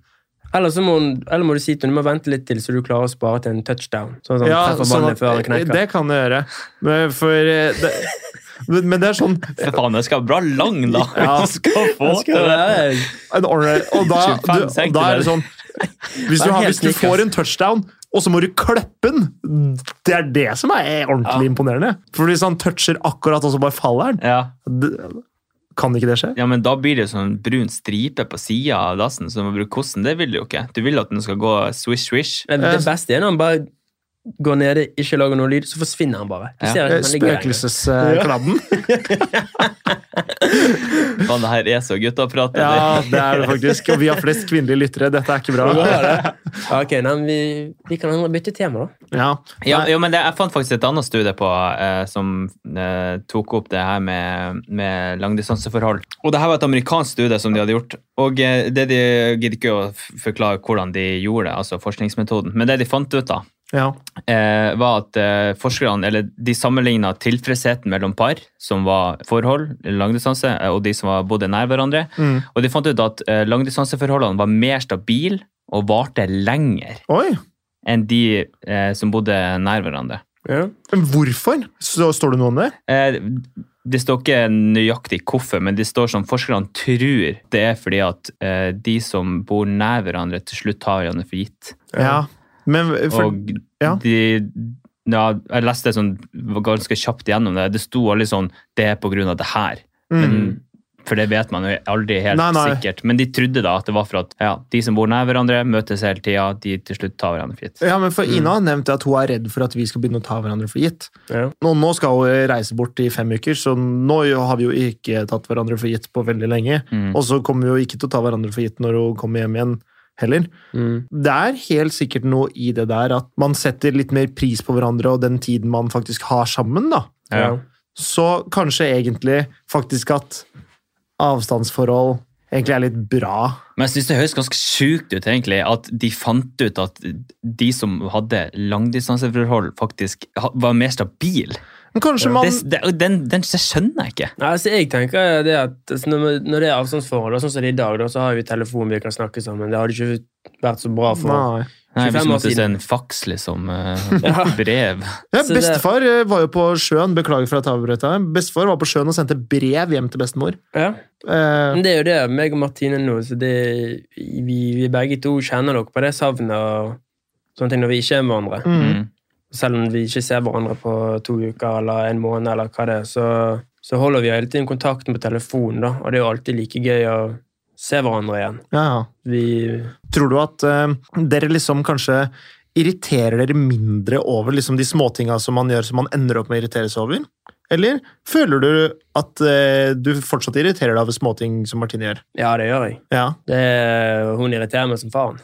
A: Eller, så må hun, eller må du si til henne du må vente litt til, så du klarer å spare til en touchdown. Sånn at han treffer
B: sånn
A: ballen
B: at-
A: før han knekker.
B: Det kan det gjøre. Men, for, eh, det, men, men det er sånn
C: For faen, det skal være bra lang, da! [LAUGHS]
B: Ja.
C: Du skal få
A: Det
C: til
A: skal
C: det.
A: være-
B: en ordentlig- og da,
C: 25
B: du, og da er det sånn hvis du, har, hvis du får en touchdown, og så må du klippe den Det er det som er ordentlig imponerende. For hvis han toucher akkurat, og så bare faller han
C: Ja.
B: det- Kan ikke det skje?
C: ja, men da blir det sånn brun stripe på sida av dassen, så du må bruke kosten. Det vil du jo ikke. Du vil at den skal gå swish, swish.
A: Det, det beste er når han bare går nede, ikke lager noe lyd, så forsvinner han bare. Du
C: Ja.
A: ser ikke at han ligger der.
B: Spøkelseskladden.
C: Faen, det her er så guttaprat. det.
B: [LAUGHS] Ja, det er det faktisk. Og vi har flest kvinnelige lyttere. Dette er ikke bra. [LAUGHS]
A: Ja, Ok, nei, men vi, vi kan heller bytte tema, da.
B: Ja.
C: Ja, jo, men det, jeg fant faktisk et annet studie på eh, som eh, tok opp det her med, med langdistanseforhold. Og det her var et amerikansk studie som de hadde gjort. Og eh, det de gidder ikke å f- forklare hvordan de gjorde det, altså forskningsmetoden. Men det de fant ut da,
B: Ja.
C: eh, var at eh, forskerne, eller de sammenlignet tilfredsheten mellom par, som var forhold, langdistanse, eh, og de som var bodde nær hverandre.
B: Mm.
C: Og de fant ut at eh, langdistanseforholdene var mer stabile og varte lenger
B: Oi!
C: enn de eh, som bodde nær hverandre.
A: Ja.
B: Men hvorfor? Så, står det noe om det?
C: Eh, Det står ikke nøyaktig hvorfor, men det står som forskerne tror det er fordi at eh, de som bor nær hverandre, til slutt tar hverandre for gitt.
B: Ja. Men for,
C: Og
B: ja.
C: de ja, Jeg leste det sånn, var ganske kjapt gjennom det. Det sto aldri sånn 'det er på grunn av det her'. Men,
B: Mm.
C: For det vet man jo aldri helt
B: Nei, nei.
C: sikkert. Men de trodde da at det var for at ja, de som bor nær hverandre, møtes hele tida. De til slutt tar hverandre for gitt.
B: ja, men for Ina har nevnt at hun er redd for at vi skal begynne å ta hverandre for gitt.
A: Ja.
B: Nå, nå skal hun reise bort i fem uker, så nå har vi jo ikke tatt hverandre for gitt på veldig lenge.
C: Mm.
B: Og så kommer vi jo ikke til å ta hverandre for gitt når hun kommer hjem igjen heller.
A: Mm.
B: Det er helt sikkert noe i det der at man setter litt mer pris på hverandre og den tiden man faktisk har sammen, da.
A: Ja.
B: Så kanskje egentlig faktisk at avstandsforhold egentlig er litt bra.
C: Men jeg synes det høres ganske sjukt ut, egentlig, at de fant ut at de som hadde langdistanseforhold, faktisk ha- var mer stabil.
B: Men kanskje man
C: Det, det, den, den det skjønner jeg ikke.
A: Nei, altså, jeg tenker det at altså, når, når det er avstandsforhold, og sånn som det er i dag, da, så har vi telefon vi kan snakke sammen. Det hadde ikke vært så bra for
B: Nei.
C: Nei,
A: 25
C: hvis man
A: år
C: måtte
A: siden.
C: se en faks, liksom. eh,
A: [LAUGHS] Ja.
C: Brev.
B: Ja,
A: Så det-
B: bestefar eh, var jo på sjøen, beklager for at jeg avbrøt deg. Bestefar var på sjøen og sendte brev hjem til bestemor.
A: ja.
B: Eh,
A: Men det er jo det, meg og Martine nå, så det, vi, vi begge to kjenner dere på det savnet og sånne ting når vi ikke er med hverandre.
B: mm.
C: Mm.
A: Selv om vi ikke ser hverandre på to uker eller en måned, eller hva det er, så, så holder vi hele tiden kontakten på telefonen, da, og det er jo alltid like gøy å se hverandre igjen.
B: ja, ja.
A: Vi,
B: Tror du at eh, dere liksom kanskje irriterer dere mindre over liksom de småtinga som man gjør som man ender opp med å irritere seg over? Eller føler du at eh, du fortsatt irriterer deg over småting som Martine gjør?
A: ja, det gjør jeg.
B: Ja.
A: Det, hun irriterer meg som
B: [LAUGHS]
A: faen.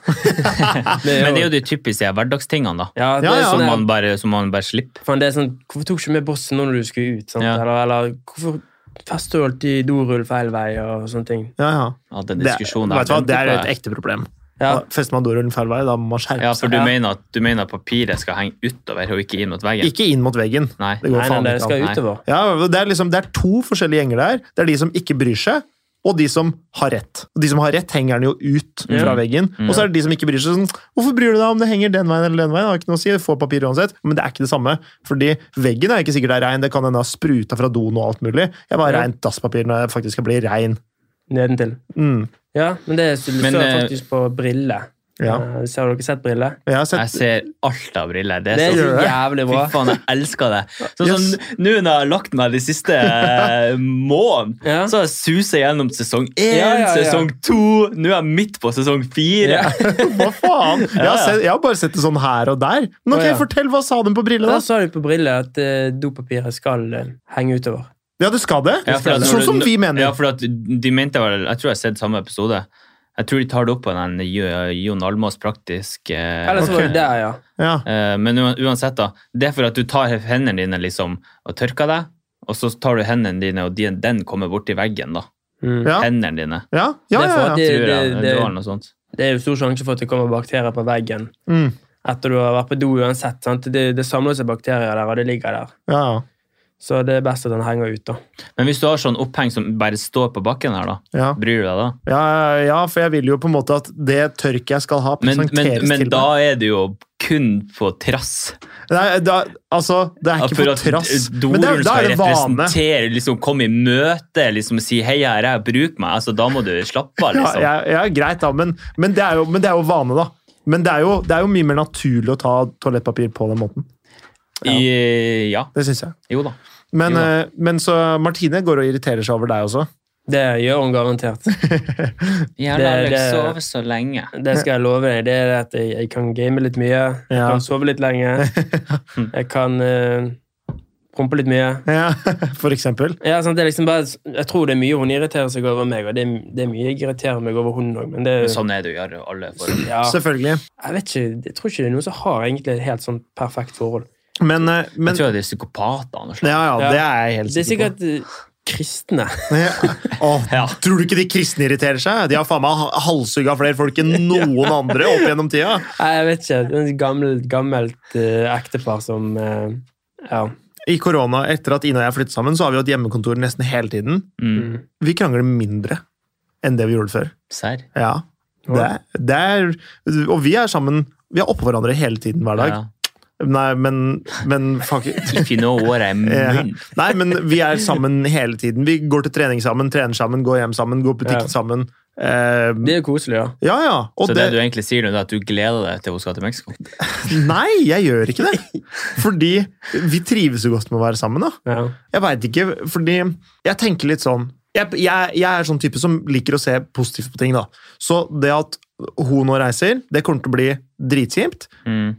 A: det
C: Men det er jo de typiske hverdagstingene, da.
A: Ja, det
B: Ja,
A: er
B: ja.
A: sånn
C: Som
A: der-
C: man bare, som man bare slipper.
A: Faen, det er sånn, hvorfor tok du ikke med bossen nå når du skulle ut? Sant?
C: Ja.
A: Eller, eller hvorfor fester du alltid dorull feil vei? og sånne ting?
B: Ja, ja.
C: Ja, den
B: Det,
C: diskusjonen der,
B: vet du hva,
C: den
B: det er
C: tipper
B: et
C: jeg-
B: ekte problem.
A: Ja,
B: Fester man dorullen feil vei, da må man skjerpe
C: Ja, for du
B: seg.
C: mener, at, du mener at papiret skal henge utover og ikke inn mot veggen?
B: Ikke inn mot veggen.
C: Nei.
B: Det går
A: nei, nei,
B: faen
A: det
B: ikke an.
A: skal
C: Nei.
A: utover.
B: Ja, det er, liksom, det er to forskjellige gjenger der. Det er de som ikke bryr seg, og de som har rett. Og de som har rett, henger den jo ut fra
C: Mm.
B: veggen. Og så er det de som ikke bryr seg. sånn, Hvorfor bryr du deg om det henger den veien eller den veien? Det har ikke noe å si, det får papir uansett. Men det er ikke det samme. Fordi veggen er ikke sikkert det er rein, det kan hende ha spruta fra doen og alt mulig. Jeg var
A: Ja.
B: reint dasspapir når jeg faktisk skal bli rein.
A: Nedentil.
B: Mm.
A: Ja, men det så,
C: Men,
A: så
C: eh,
A: faktisk på brille.
B: Ja.
A: Eh, så har dere sett brille?
B: Jeg har sett
C: Jeg ser alt av briller. Det
A: Det
C: er
A: er
C: så
A: så jævlig
C: Fy
A: bra.
C: faen, jeg elsker det. Sånn som
B: Yes.
C: n- Nå når jeg har lagt meg de siste eh, måneden,
A: Ja.
C: så har jeg suset gjennom sesong én,
A: Ja, ja, ja.
C: sesong to Nå er jeg midt på sesong fire.
A: Ja.
B: Hva faen? [LAUGHS] Jeg har,
C: Ja, ja.
B: sett, jeg har bare sett det sånn her og der. Men
A: Å,
B: ok,
A: ja.
B: fortell, hva sa de på brillene?
A: Der sa de på brille at eh, dopapiret skal eh, henge utover.
B: Ja, du skal det?
C: Ja, for at når
B: sånn
C: du-
B: som vi mener.
C: Ja, for at de mente vel Jeg tror jeg har sett samme episode. Jeg tror de tar det opp på den Jo- Jon Almaas praktisk eh,
A: Eller så var det der, ja.
B: Ja.
C: Eh, Men ua- uansett, da. Det er for at du tar hendene dine liksom og tørker deg, og så tar du hendene dine, og de- den kommer borti veggen, da.
A: Mm.
B: Ja.
C: Hendene dine.
B: Ja,
A: Det
B: ja,
A: er
B: ja.
A: for
B: ja.
A: at de- Det-
C: tror jeg.
A: det-
C: det
A: det-
C: var noe sånt.
A: Det er jo stor sjanse for at det kommer bakterier på veggen
B: Mm.
A: etter du har vært på do uansett. sant? Det, det samler seg bakterier der, og det ligger der.
B: ja, ja.
A: Så det er best at den henger ut, da.
C: Men hvis du har sånn oppheng som bare står på bakken her, da,
B: Ja.
C: bryr du deg da?
B: Ja, ja, for jeg vil jo på en måte at det tørket jeg skal ha,
C: Men, men,
B: presenteres
C: men
B: til
C: da
B: meg.
C: er du jo kun på trass.
B: Nei, da, altså, det er ikke
C: For
B: på
C: at
B: trass. Men det,
C: Dorullen
B: da
C: skal
B: er det vane.
C: representere, liksom komme i møte, liksom si 'hei, jeg er her, bruk meg', altså da må du slappe av,
B: [LAUGHS] Ja,
C: liksom.
B: ja, ja, greit, da, men, men, det er jo, men det er jo vane, da. Men det er, jo, det er jo mye mer naturlig å ta toalettpapir på den måten.
C: I, ja.
B: Det syns jeg.
C: Jo da.
B: Men,
C: Jo da.
B: eh, men så Martine går og irriterer seg over deg også. [LAUGHS]
A: Det gjør hun garantert.
C: Jævla
A: Det-
C: Alex,
A: det-
C: sove så lenge.
A: Det skal jeg love deg. Det er det at jeg, jeg kan game litt mye, jeg
B: Ja.
A: kan sove litt lenge, jeg kan eh, prompe litt mye.
B: Ja, for eksempel.
A: Ja, sant, det er liksom bare, jeg tror det er mye hun irriterer seg over meg, og det er, det er mye jeg irriterer meg over hun òg, men det
C: Men Sånn er det jo i alle forhold.
A: ja,
B: Selvfølgelig.
A: Jeg vet ikke, jeg tror ikke det er noen som har egentlig et helt sånn perfekt forhold.
B: Men, eh,
C: Jeg
B: men
C: tror det er psykopater. og noe
B: ja,
C: slags.
B: ja,
A: Ja.
B: det er jeg helt
A: Det er
B: sikker på.
A: sikkert eh, kristne.
B: [LAUGHS] Ja. Åh,
C: Ja.
B: Tror du ikke de kristne irriterer seg? De har faen meg halshugga flere folk
C: [LAUGHS]
B: enn noen andre opp gjennom tida.
A: Nei, jeg vet ikke. Det er Et gammelt, gammelt eh, ektepar som eh, Ja.
B: I korona, etter at Ine og jeg flyttet sammen, så har vi hatt hjemmekontor nesten hele tiden.
C: Mm.
A: Mm.
B: Vi krangler mindre enn det vi gjorde før.
C: Serr.
B: Ja. Det, er- det er, og vi er sammen Vi er oppå hverandre hele tiden hver dag.
C: Ja.
B: Nei, men, men fuck it.
C: If you know
B: [LAUGHS]
C: what I mean.
B: Nei, men vi er sammen hele tiden. Vi går til trening sammen, trener sammen, går hjem sammen, går på butikken
A: Ja.
B: sammen. Eh,
A: Det er jo koselig, ja.
B: ja, ja. Og
C: Så det,
B: det,
C: du egentlig sier, nå, det er at du gleder deg til hun skal til Mexico?
B: Nei, jeg gjør ikke det! Fordi vi trives jo godt med å være sammen, da.
A: ja.
B: Jeg veit ikke, fordi jeg tenker litt sånn jeg, jeg, jeg er sånn type som liker å se positivt på ting, da. Så det at hun nå reiser, det kommer til å bli dritkjipt.
C: Mm.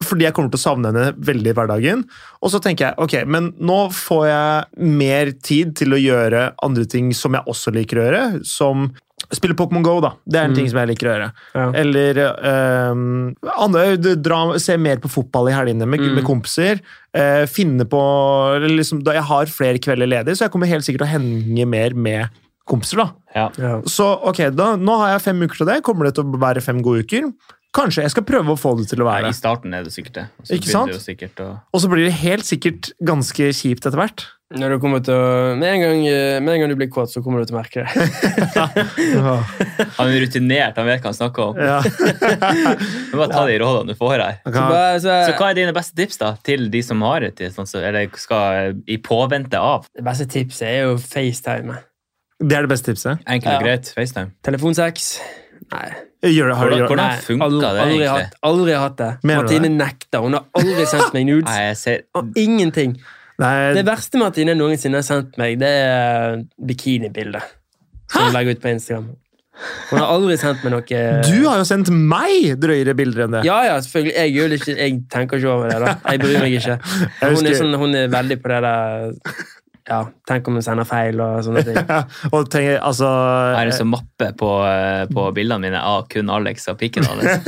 B: Fordi jeg kommer til å savne henne veldig i hverdagen. Og så tenker jeg ok, men nå får jeg mer tid til å gjøre andre ting som jeg også liker å gjøre. Som spille Pokémon Go, da. Det er en
A: Mm.
B: ting som jeg liker å gjøre.
A: Ja.
B: Eller ehm, andre, du- dra, se mer på fotball i helgene med,
A: Mm.
B: med kompiser. Eh, finne på eller liksom, da Jeg har flere kvelder ledig, så jeg kommer helt sikkert til å henge mer med kompiser. da.
C: Ja.
A: ja.
B: Så ok, da, nå har jeg fem uker til det. Kommer det til å være fem gode uker? Kanskje jeg skal prøve å få det til å
C: Nei,
B: være
C: I
B: det.
C: starten er det sikkert det. Og så
B: Ikke
C: begynner
B: sant?
C: det jo sikkert å-
B: Og så blir det helt sikkert ganske kjipt etter hvert.
A: Når du kommer til å Med en gang, eh, med en gang du blir kåt, så kommer du til å merke det.
B: Ja.
C: Han er rutinert, han vet hva han snakker om. [LAUGHS]
B: Ja.
C: Men bare ta de rådene du får her.
A: [LAUGHS] Så bare, så,
C: Så hva er dine beste tips da, til de som har et sånn, så- eller skal i påvente av?
A: Det beste tipset er jo FaceTime.
B: Det er det beste tipset.
C: Enkelt og
A: Ja.
C: greit, FaceTime.
A: Telefonsex? Nei.
B: Gjør det, har,
C: Hvordan,
B: gjør,
A: Nei,
C: hvordan funka
A: aldri,
C: det
A: aldri,
C: egentlig?
A: hatt, aldri hatt det.
B: Mener du
A: Martine nekter. Hun har aldri sendt meg nudes.
C: Nei, jeg ser...
A: Og ingenting. Det
B: nei,
A: verste Martine noensinne har sendt meg, det er eh, bikinibildet. Som hun legger ut på Instagram. Hun har aldri sendt meg noe
B: du har jo sendt meg drøyere bilder enn det.
A: Ja, ja, selvfølgelig. Jeg, gjør det ikke, jeg tenker ikke over det. da. Jeg bryr meg ikke. Men Hun er,
B: husker-
A: sånn, hun er veldig på det der Ja, tenk om hun sender feil og sånne ting.
B: Ja, og tenker, altså
C: Her er det så mappe på, eh, på bildene mine av kun Alex og pikken
B: [LAUGHS]
C: hans.
B: Jeg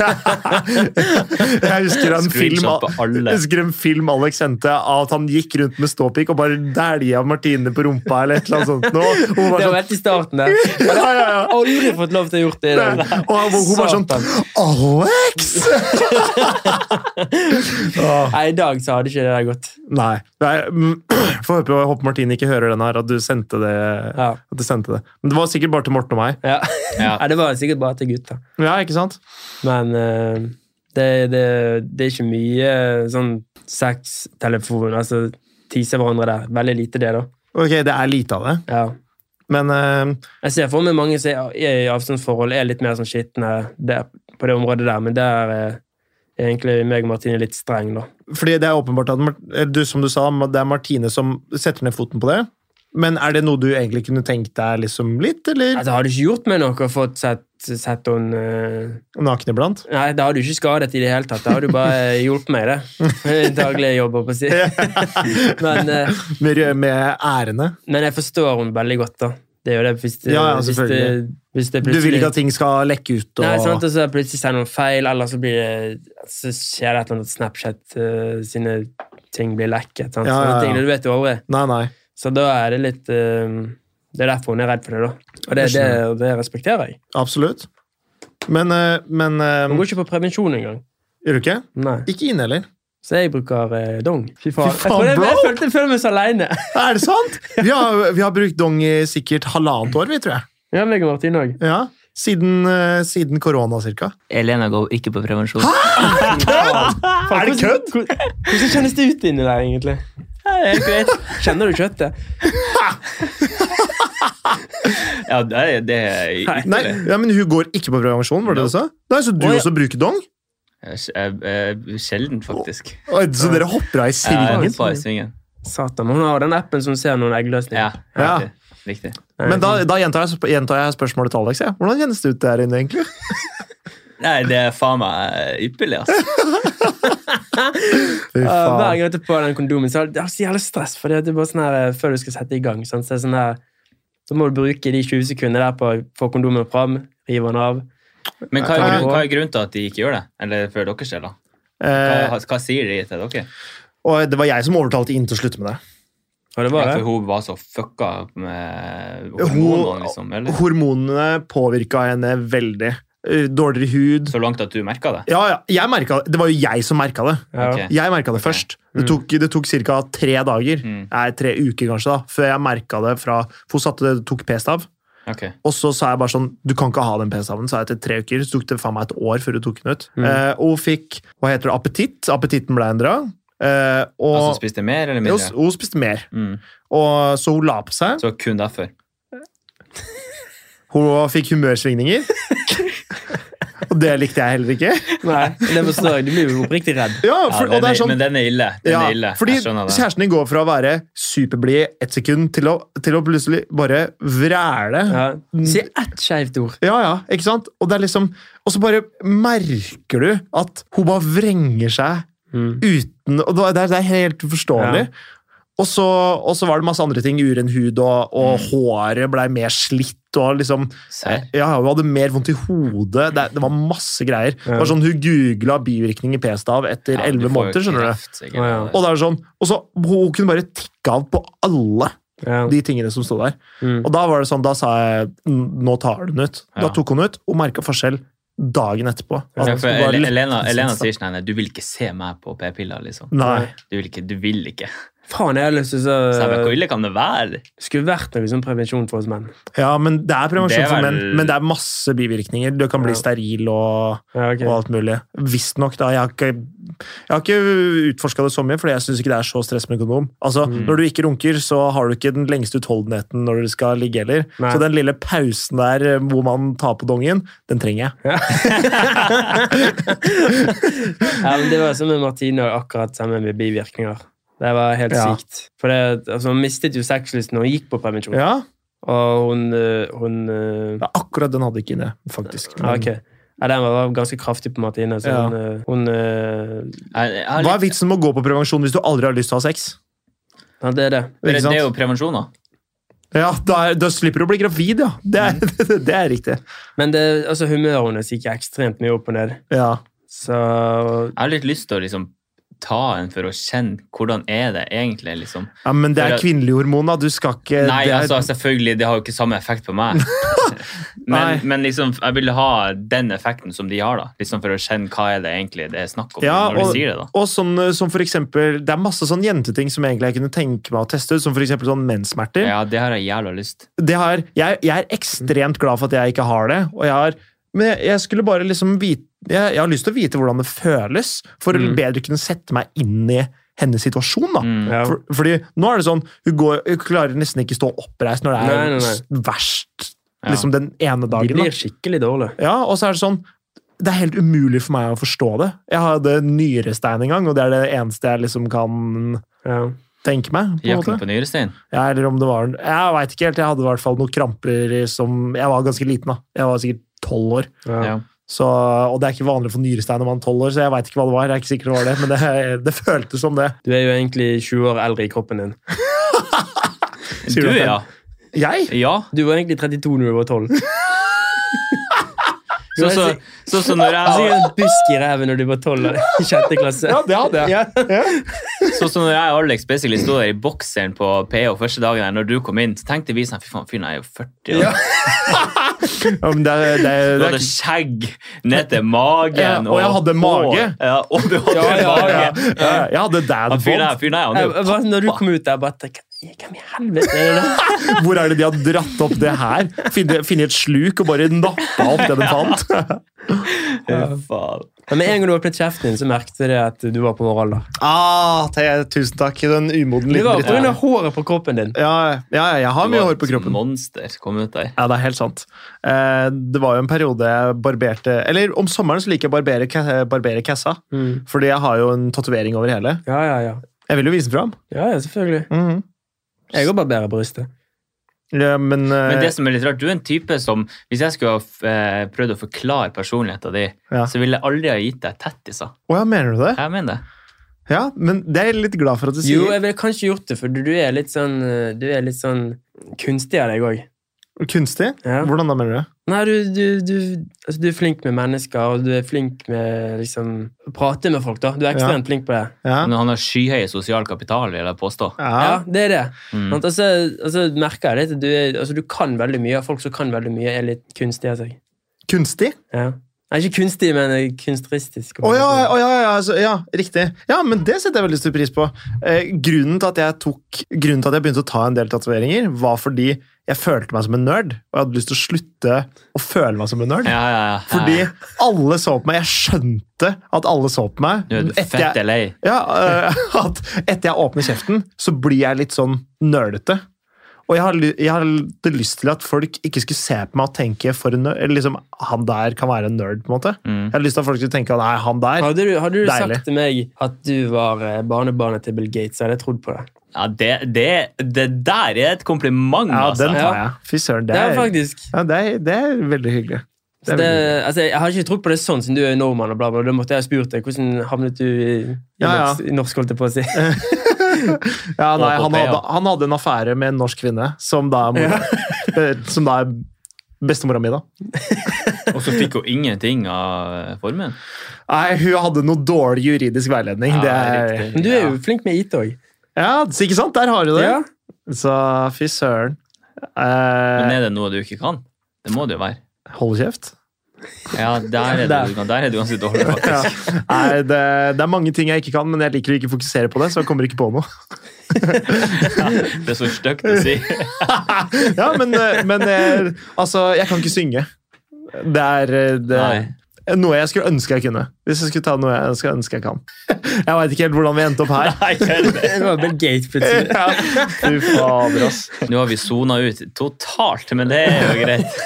B: husker en, film,
C: Screenshot på alle.
B: jeg husker en film Alex sendte av at han gikk rundt med ståpikk og bare dælja Martine på rumpa eller et eller annet sånt. nå. Og hun
A: Det
B: bare
A: var
B: sånn,
A: helt i starten der. Jeg
B: ja, ja, ja.
A: har aldri fått lov til å gjort det i dag.
B: Og hun, hun bare sånn Alex! [LAUGHS] Åh,
A: Nei, i dag så hadde ikke det der gått.
B: nei. nei mm, [CLEARS THROAT] Får håpe, jeg håper Martine ikke hører den her, at du sendte det.
A: Ja.
B: At du sendte det. Men det var sikkert bare til Morten og meg.
A: Ja.
C: Ja.
A: Nei, det var sikkert bare til gutta.
B: Ja, ikke sant?
A: Men eh, det, det, det er ikke mye sånn sextelefon, altså tise hverandre der. Veldig lite det, da.
B: Ok, det er lite av det.
A: Ja.
B: Men eh,
A: Jeg ser for meg mange som er i avstandsforhold, er litt mer sånn skitne der- på det området der, men der eh, er egentlig meg og Martine litt streng, da.
B: Fordi det er åpenbart at Mar- eller du, som du sa, det er Martine som setter ned foten på det. Men er det noe du egentlig kunne tenkt deg liksom litt, eller?
A: Altså, hadde ikke gjort meg noe å få sett, sett henne eh,
B: Naken iblant?
A: Nei, det hadde du ikke skadet i det hele tatt. Det hadde du bare eh, hjulpet meg,
B: [LAUGHS]
A: det. [LAUGHS] Daglig jobb, holdt jeg på å si. men, eh,
B: Med, med ærene?
A: men jeg forstår henne veldig godt, da. Det er jo det hvis det,
B: Ja, ja,
A: hvis det,
B: selvfølgelig.
A: hvis det
B: Du vil ikke at ting skal lekke ut? Og...
A: Nei, sant, altså. og så plutselig sier noen feil, eller så, blir det, så skjer det et eller annet at Snapchat eh, sine ting blir lekket. Sant?
B: Ja, ja,
A: Sånne
B: ja.
A: ting, du vet jo aldri.
B: nei, nei.
A: Så da er det litt eh, Det er derfor hun er redd for det, da. Og det,
B: Jeg
A: det,
B: skjønner.
A: det respekterer jeg.
B: Absolutt. Men, eh, men eh,
A: Hun går ikke på prevensjon engang.
B: Gjør du ikke?
A: Nei.
B: Ikke inn heller.
A: Så jeg bruker eh, dong. Fy faen,
B: Fy faen,
A: jeg,
B: bro!
A: føler, jeg, følte, jeg føler meg så aleine.
B: Er det sant?! Vi har, vi har brukt dong i sikkert halvannet år, vi, tror jeg.
A: [LAUGHS] Ja, meg og Martine òg.
B: Ja. Siden, eh, siden korona, cirka.
C: Elena går ikke på prevensjon.
B: Er det kødd?!
A: Hvordan kjennes det ut inni der, egentlig?
C: Helt greit.
A: Kjenner du kjøttet?
C: Ja, det er, det er ytterlig.
B: Nei, ja, men hun går ikke på prevensjon, var det det du sa? Nei, Så du
A: Å, ja.
B: også bruker dong?
C: Sjelden, faktisk.
B: Oi, Så dere hopper av i
C: Jeg
B: svingen?
C: hoppa i svingen.
A: Satan, hun har den appen som ser noen Eh, eggløsninger.
C: Ja,
B: Ja.
C: riktig. riktig.
B: Men da, da gjentar, jeg, sp- gjentar jeg spørsmålet til Alex. Jeg. Hvordan kjennes det ut der inne, egentlig?
C: Nei, det er faen meg ypperlig, altså.
B: Fy
A: Ja, eh, Hver gang jeg
B: faen.
A: tar på den kondomen, så er det det er så jævlig stress. For det er bare sånn her, eh, før du skal sette i gang, sant? så er det sånn her, så må du bruke de 20 sekundene der på å få kondomen fram, rive den av.
C: Men hva er,
B: Nei.
C: grunn, hva er grunnen til at de ikke gjør det? Eller før deres del, da?
B: Eh,
C: Hva, hva sier de til dere?
B: og det var jeg som overtalte Inn til å slutte med det.
A: Og det
C: Ja,
A: var
C: for
A: det.
C: hun var så fucka med
B: Hun-
C: hormonene, liksom? Eller?
B: Hormonene påvirka henne veldig. Eh, Dårligere hud.
C: Så langt at du merka det?
B: Ja, ja, jeg merket, det Det var jo jeg som merka det.
A: Ja.
C: Ok.
B: Jeg merka det først. Det tok, det tok ca. tre dager,
C: Mm.
B: nei, tre uker kanskje, da, før jeg merka det fra For hun satte, tok p-stav.
C: Ok.
B: Og så sa jeg bare sånn Du kan ikke ha den p-staven. sa jeg etter tre uker. Så tok det faen meg et år før du tok den ut.
A: Mm.
B: Eh, og hun fikk hva heter det, appetitt. Appetitten ble endra. Eh, og
C: Altså spiste jeg mer eller
B: Jo,
C: mindre?
B: s- hun spiste mer.
C: Mm.
B: Og, så hun la på seg.
C: Så kun derfor.
B: Hun fikk
C: [LAUGHS]
B: humørsvingninger. og det likte jeg heller ikke.
A: [LAUGHS] Nei, det forstår jeg. Du blir jo oppriktig redd.
B: [LAUGHS] Ja,
C: Ja,
B: for,
C: den
B: og det
C: er,
B: er sånn
C: men den er ille. Den er ille.
B: fordi
C: jeg skjønner det.
B: kjæresten din går fra å være superblid ett sekund til å, til å plutselig bare vræle. Ja.
A: Ja. Si ett skeivt ord.
B: ja, ikke sant? Og det er liksom Og så bare merker du at hun bare vrenger seg
A: Mm.
B: uten Og det er, det er helt uforståelig. Og så, og så var det masse andre ting. Uren hud, og, og
C: Mm.
B: håret blei mer slitt. og liksom,
C: Serr?
B: ja, Hun hadde mer vondt i hodet. Det, det var masse greier. Det var sånn Hun googla bivirkninger p-stav etter
C: Ja, du
B: elleve
C: får jo
B: måneder. skjønner du?
C: kreft, sikkert.
A: Å, ja.
B: Og det er sånn, og så Hun kunne bare tikke av på alle
A: Ja.
B: de tingene som sto der.
A: Mm.
B: Og da var det sånn, da sa jeg "N- nå tar du den ut. Da
C: Ja.
B: tok hun ut og merka forskjell dagen etterpå. At
C: Ja,
B: det
C: for
B: var
C: Ele-
B: lett-
C: Elena, Elena sier sånn nei, du vil ikke se meg på p-piller, liksom.
B: Nei.
C: Du vil ikke. Du vil ikke.
A: Faen, jeg har lyst til å
C: Så jeg bare,
B: Eh,
A: så-
C: Hvor ille kan det være?
A: Skulle vært noe sånn prevensjon for oss menn.
B: Ja, men det er prevensjon
C: Det er
B: for
C: vel-
B: menn, men det er masse bivirkninger. Du kan bli
A: Ja.
B: steril og,
A: Ja, ok.
B: og alt mulig. Visstnok, da. Jeg har ikke, jeg har ikke utforska det så mye, for jeg syns ikke det er så stress med kondom. Altså, Når du ikke runker, så har du ikke den lengste utholdenheten når du skal ligge heller.
A: Nei.
B: Så den lille pausen der eh, hvor man tar på dongen, den trenger jeg.
A: Ja, men det var som med Martine og akkurat samme med bivirkninger. Det var helt
B: Ja.
A: sykt. For det, altså, hun mistet jo sexlysten når hun gikk på prevensjon.
B: Ja,
A: Og hun, øh, hun øh,
B: Ja, akkurat den hadde ikke det, faktisk.
A: ja, ok. ja, Den var ganske kraftig på Martine. Så
B: Ja.
A: hun, øh, hun øh,
C: Jeg, jeg har
B: Hva
C: litt,
B: er vitsen med å gå på prevensjon hvis du aldri har lyst til å ha sex?
A: ja, Det er det.
C: det,
B: Ikke sant?
C: det er jo prevensjon, da.
B: Ja, da, er, da slipper du å bli gravid, ja. Det er, [LAUGHS] det er riktig.
A: Men det, altså, humøret hennes gikk ekstremt mye opp og ned.
B: Ja.
A: Så
C: Jeg har litt lyst til å liksom ta en for å kjenne hvordan er det egentlig, liksom.
B: ja, Men det er kvinnelige hormoner, du skal ikke
C: Nei,
B: Eh, det er,
C: altså, selvfølgelig, det har jo ikke samme effekt
B: [LAUGHS]
C: på meg.
B: Nei.
C: Men, men liksom, jeg vil ha den effekten som de har, da. Liksom for å kjenne hva er det egentlig det er snakk om
B: Ja,
C: når
B: og-
C: de sier det, da.
B: Og sånn eh, som for eksempel Det er masse sånn jenteting som egentlig jeg kunne tenke meg å teste ut, som for eksempel sånn menssmerter.
C: Ja, det har jeg jævla lyst.
B: det har, jeg, jeg er ekstremt glad for at jeg ikke har det. Og jeg har, men jeg, jeg skulle bare liksom vite jeg, jeg har lyst til å vite hvordan det føles, for å
A: Mm.
B: bedre kunne sette meg inn i hennes situasjon. da.
C: Mm.
A: ja.
B: For, fordi nå er det sånn Hun, går, hun klarer nesten ikke stå oppreist når det er
A: Nei, nei, nei.
B: s- verst
C: Ja.
B: liksom den
A: De
B: ene dagen.
A: blir
B: Da.
A: skikkelig dårlige.
B: Ja, og så er det sånn Det er helt umulig for meg å forstå det. Jeg hadde nyrestein en gang, og det er det eneste jeg liksom kan
A: Ja.
B: tenke meg. på en måte.
C: Jakten på nyrestein.
B: Ja, eller om det var en- Jeg veit ikke helt. Jeg hadde i hvert fall noen kramper som Jeg var ganske liten, da. Jeg var sikkert tolv år.
A: Ja.
C: Ja.
B: Så, og det er ikke vanlig for nyrestein når man er tolv år, så jeg veit ikke hva det var. Jeg er ikke sikker det var det, men det, [LAUGHS] det føltes som det.
A: Du er jo egentlig 20 år eldre i kroppen din.
B: Sier
C: Du,
B: du det?
C: ja.
B: Jeg?
C: Ja.
A: Du var egentlig 32 når du var 12. Du
C: Sånn
A: var
C: som
A: sik-
C: så, så når
B: [LAUGHS]
C: jeg var-
A: sikkert en busk i ræven når du var 12 og- i sjette klasse.
B: Ja, det hadde jeg.
A: Ja.
C: Sånn som når jeg og Alex basically sto der i bokseren på PH første dagen her, når du kom inn, så tenkte vi sånn Fy faen, fyren er jo 40 år.
B: Ja, men det, er- det, er-
C: Du
B: det,
C: hadde
B: er-
C: skjegg ned
B: [LAUGHS]
C: til magen.
B: Ja, og jeg hadde
C: hår.
B: mage.
C: Ja, og du hadde
A: Ja, ja,
B: ja,
C: mage.
B: ja, jeg hadde dad
C: Han fyren her,
B: bod.
C: fyren her, han
A: Jeg,
C: er
A: jeg,
C: jo
A: bare- når du kom ut der, bare tenkte jeg Hvem i helvete er det der?
B: Hvor er det de har dratt opp det her? Finne, finne et sluk og bare nappa opp det de fant?
C: Fy faen.
A: Men Med en gang du åpnet kjeften din, så merket jeg det at du var på vår alder.
B: Ah, te- tusen takk, den umoden
A: Det var
B: lille
A: pga.
B: dritten.
A: håret på kroppen din.
B: Ja, ja, jeg har
C: Du
B: mye
C: var
B: hår på
C: et
B: kroppen.
C: Monster kom ut der.
B: Ja, det er helt sant. Eh, det var jo en periode jeg barberte Eller om sommeren så liker jeg å barbere, ka- barbere kassa.
A: Mm.
B: Fordi jeg har jo en tatovering over hele.
A: Ja, ja, ja.
B: Jeg vil jo vise den fram.
A: Ja, ja, selvfølgelig. Jeg òg barberer brystet.
B: ja, men, eh,
C: Men det som er litt rart, du er en type som Hvis jeg skulle ha eh, prøvd å forklare personligheten din,
B: Ja.
C: så ville jeg aldri ha gitt deg tettiser.
B: Å ja, mener du det?
C: Jeg mener det.
B: Ja, men det er jeg litt glad for at du sier.
A: Jo, jeg ville kanskje gjort det, for du, du er litt sånn eh, Du er litt sånn kunstig av deg òg.
B: Kunstig?
A: Ja.
B: Hvordan da, mener du?
A: Nei, du, du, du, altså, du er flink med mennesker, og du er flink med liksom å Prate med folk, da. Du er ekstremt flink på det.
B: Ja.
C: Men han har skyhøy sosial kapital, vil jeg påstå.
A: Ja,
B: Ja.
A: det er det.
C: Mm.
A: Sant? Altså, altså, merker jeg litt at du, er, altså, du kan veldig mye, og folk som kan veldig mye, er litt kunstige av seg.
B: Kunstig?
A: Ja. Nei, ikke kunstig, men eh, kunstneristisk.
B: Å ja, å ja, ja, altså, ja, riktig. Ja, men det setter jeg veldig stor pris på. Eh, grunnen, til at jeg tok, grunnen til at jeg begynte å ta en del tatoveringer, var fordi jeg følte meg som en nerd, og jeg hadde lyst til å slutte å føle meg som en nerd.
C: Ja, ja, ja.
B: Fordi alle så på meg. Jeg skjønte at alle så på meg.
C: Du er
B: Etter jeg-
C: fett lei.
B: ja, eh, [LAUGHS] at etter jeg åpner kjeften, så blir jeg litt sånn nerdete. Og jeg har, ly- jeg har hadde lyst til at folk ikke skulle se på meg og tenke for en nerd, eller liksom, han der kan være en nerd, på en måte.
C: Mm.
B: Jeg har lyst til at folk skulle tenke at nei, han der
A: Hadde du, hadde du
B: Deilig.
A: sagt til meg at du var eh, barnebarnet til Bill Gates, hadde jeg trodd på det.
C: Ja, det, det, det der er et kompliment,
B: Ja,
C: altså.
B: den tar jeg. Fy søren, det
A: Det er
B: er,
A: faktisk.
B: ja, det er, det er veldig hyggelig. Det
A: Så
B: er
A: det,
B: veldig hyggelig.
A: altså, jeg har ikke trodd på det sånn, siden du er nordmann. og bla bla. Da måtte jeg ha spurt deg hvordan havnet du i, i
B: Ja, ja.
A: norsk, i norsk, holdt jeg på
B: [LAUGHS]
A: å si.
B: Ja, nei,
C: Og på
B: han,
C: P,
B: hadde,
C: ja.
B: han hadde en affære med en norsk kvinne, som da er, mor, [LAUGHS] eh, som da er bestemora mi, da.
C: Og så fikk hun ingenting av eh, formen.
B: Nei, hun hadde noe dårlig juridisk veiledning.
C: Ja,
B: det er,
C: riktig.
A: Men du er jo flink med IT òg.
B: Ja, så ikke sant? Der har du det.
A: Ja.
B: Så fy søren.
C: Men
B: Eh,
C: er det noe du ikke kan? Det må det jo være.
B: hold [LAUGHS] kjeft.
C: Ja, der er du, der er du ganske dårlig,
B: Ja.
C: faktisk.
B: Nei, det, det er mange ting jeg ikke kan, men jeg liker å ikke fokusere på det. så jeg kommer ikke på noe.
C: Det er så stygt å
B: [LAUGHS]
C: si.
B: Ja, Men, eh, men eh, altså, jeg kan ikke synge. Det er, eh, det
C: Nei.
B: er noe jeg skulle ønske jeg kunne. Hvis jeg skulle ta noe jeg skulle ønske jeg kan. [LAUGHS] Jeg veit ikke helt hvordan vi endte opp [LAUGHS] her.
C: Nei, jeg er det.
A: Det var Bill Gates
B: [LAUGHS]
A: plutselig.
B: Ja. Fy fader, ass.
C: Nå har vi sona ut totalt, men det er jo greit.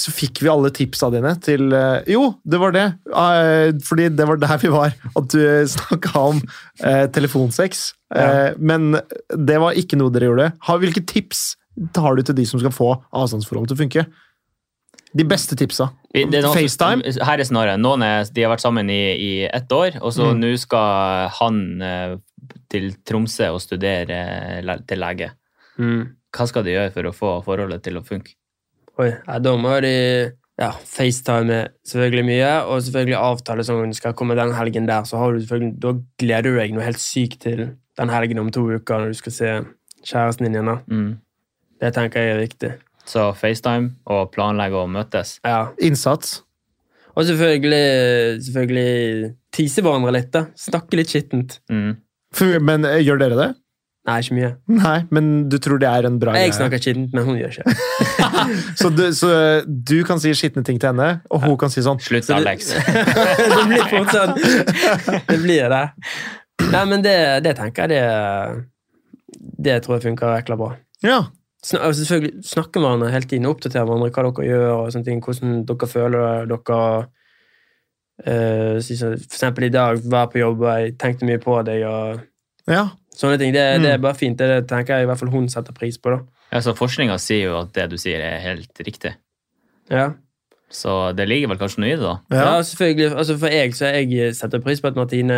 B: så fikk vi alle tipsa dine til eh, Jo, det var det. Eh, fordi det var der vi var. At du snakka om eh, telefonsex. Eh, Men det var ikke noe dere gjorde. Har, hvilke tips tar du til de som skal få avstandsforholdet til å funke? De beste tipsa.
C: Vi- det er noen-
B: FaceTime?
C: Her er snarere. Noen er, de har vært sammen i, i ett år, og
B: Mm.
C: så nå skal han eh, til Tromsø og studere eh, le- til lege.
A: Mm.
C: Hva skal de gjøre for å få forholdet til å funke?
A: Oi, ja, da må de ja, facetime selvfølgelig mye, og selvfølgelig avtale sånn du skal komme den helgen der, så har du selvfølgelig, da gleder du deg noe helt sykt til den helgen om to uker når du skal se kjæresten din igjen. da.
C: Mm.
A: Det tenker jeg er viktig.
C: Så FaceTime og planlegge å møtes.
A: Ja.
B: Innsats.
A: Og selvfølgelig, selvfølgelig tease hverandre litt, da. Snakke litt skittent.
C: Mm.
B: For, men eh, gjør dere det?
A: Nei, ikke mye.
B: Nei, men du tror det er en bra
A: Jeg
B: greie.
A: snakker skittent, men hun gjør ikke.
B: Så du, så du kan si skitne ting til henne, og hun kan si sånn
C: Slutt,
A: Så det-
C: Alex.
A: [LAUGHS]
C: [LAUGHS]
A: det blir fort sånn. Det blir det. Nei, men det, det tenker jeg det Det tror jeg funker jækla bra.
B: Ja.
A: Sn og altså, selvfølgelig snakke med hverandre hele tiden, oppdatere hverandre hva dere gjør, og sånne ting, hvordan dere føler det, dere eh, si sånn, For eksempel i dag, være på jobb, og jeg tenkte mye på deg, og
B: ja.
A: sånne ting. Det, det
B: Mm.
A: er bare fint. Det, det tenker jeg i hvert fall hun setter pris på, da.
C: Altså, Forskninga sier jo at det du sier, er helt riktig.
A: Ja.
C: Så det ligger vel kanskje noe i det, da.
A: Ja.
B: ja.
A: selvfølgelig. Altså For jeg så jeg setter pris på at Martine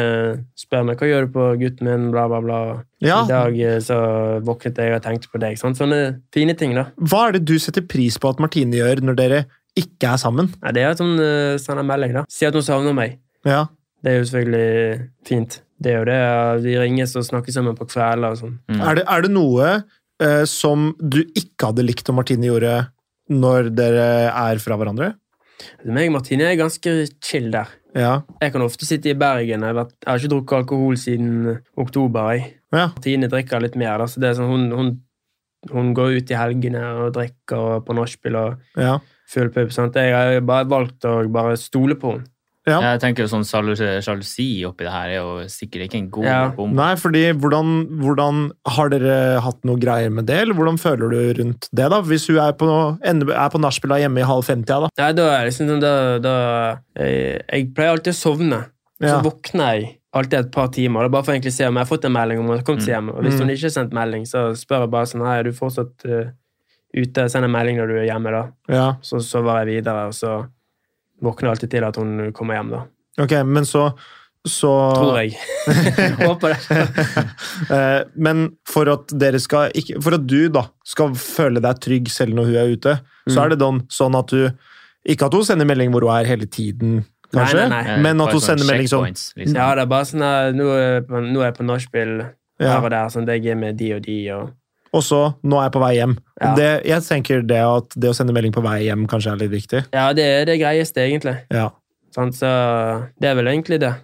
A: spør meg hva gjør du på gutten min, bla, bla, bla.
B: ja.
A: I dag eh, så våknet jeg og tenkte på deg. Sant? Sånne fine ting, da.
B: Hva er det du setter pris på at Martine gjør når dere ikke er sammen?
A: Nei, det er at hun eh, sender melding, da. Sier at hun savner meg.
B: Ja.
A: Det er jo selvfølgelig fint. Det er jo det. eh, Vi ringes og snakkes sammen på kvelder og sånn.
C: Mm.
B: Er, det, er det noe eh, som du ikke hadde likt om Martine gjorde når dere er fra hverandre?
A: Meg og Martine er ganske chill der.
B: Ja.
A: Jeg kan ofte sitte i Bergen. Jeg har, vært, jeg har ikke drukket alkohol siden oktober. Jeg.
B: ja.
A: Martine drikker litt mer. Da, så det er sånn, hun, hun, hun går ut i helgene og drikker og på nachspiel og
B: ja.
A: full pub. Sant? Jeg har bare valgt å bare stole på henne.
B: Ja.
C: Jeg tenker jo sånn sjalu- Sjalusi oppi det her er jo sikkert ikke en god
A: Ja.
C: bombe.
B: Nei, fordi hvordan, hvordan Har dere hatt noe greier med det, eller hvordan føler du rundt det? da? Hvis hun er på, noe- ender- er på nachspiel da hjemme i halv femtida, da.
A: Nei, da er det liksom sånn da, da jeg, jeg pleier alltid å sovne.
B: Ja.
A: Så våkner jeg alltid et par timer. Det er bare for egentlig å se om jeg har fått en melding om hun har kommet seg hjem. Og hvis
B: Mm.
A: hun ikke har sendt melding, så spør jeg bare sånn Hei, er du fortsatt eh, ute? Send en melding når du er hjemme, da.
B: Ja.
A: Så sover jeg videre, og så våkner jeg alltid til at hun kommer hjem, da.
B: Ok, men så, så
A: Tror jeg. Håper det.
B: [LAUGHS] Eh, Men for at, dere skal ikke, for at du da skal føle deg trygg selv når hun er ute, så
A: Mm.
B: er det don, sånn at du Ikke at hun sender melding hvor hun er hele tiden,
A: Nei,
B: kanskje,
A: nei, nei.
C: Eh,
B: men
C: bare
B: at hun
C: sånn
B: sender melding sånn
C: checkpoints, liksom.
A: Ja, det er bare sånn her, nå, er jeg på- nå er jeg på nachspiel
B: ja,
A: her og der. Sånn, jeg er med de og de, og
B: og så 'nå er jeg på vei hjem'.
A: Ja.
B: Det, jeg tenker det at det å sende melding på vei hjem kanskje er litt viktig.
A: Ja, det er det greieste, egentlig.
B: Ja.
A: Sant? Så det er vel egentlig det.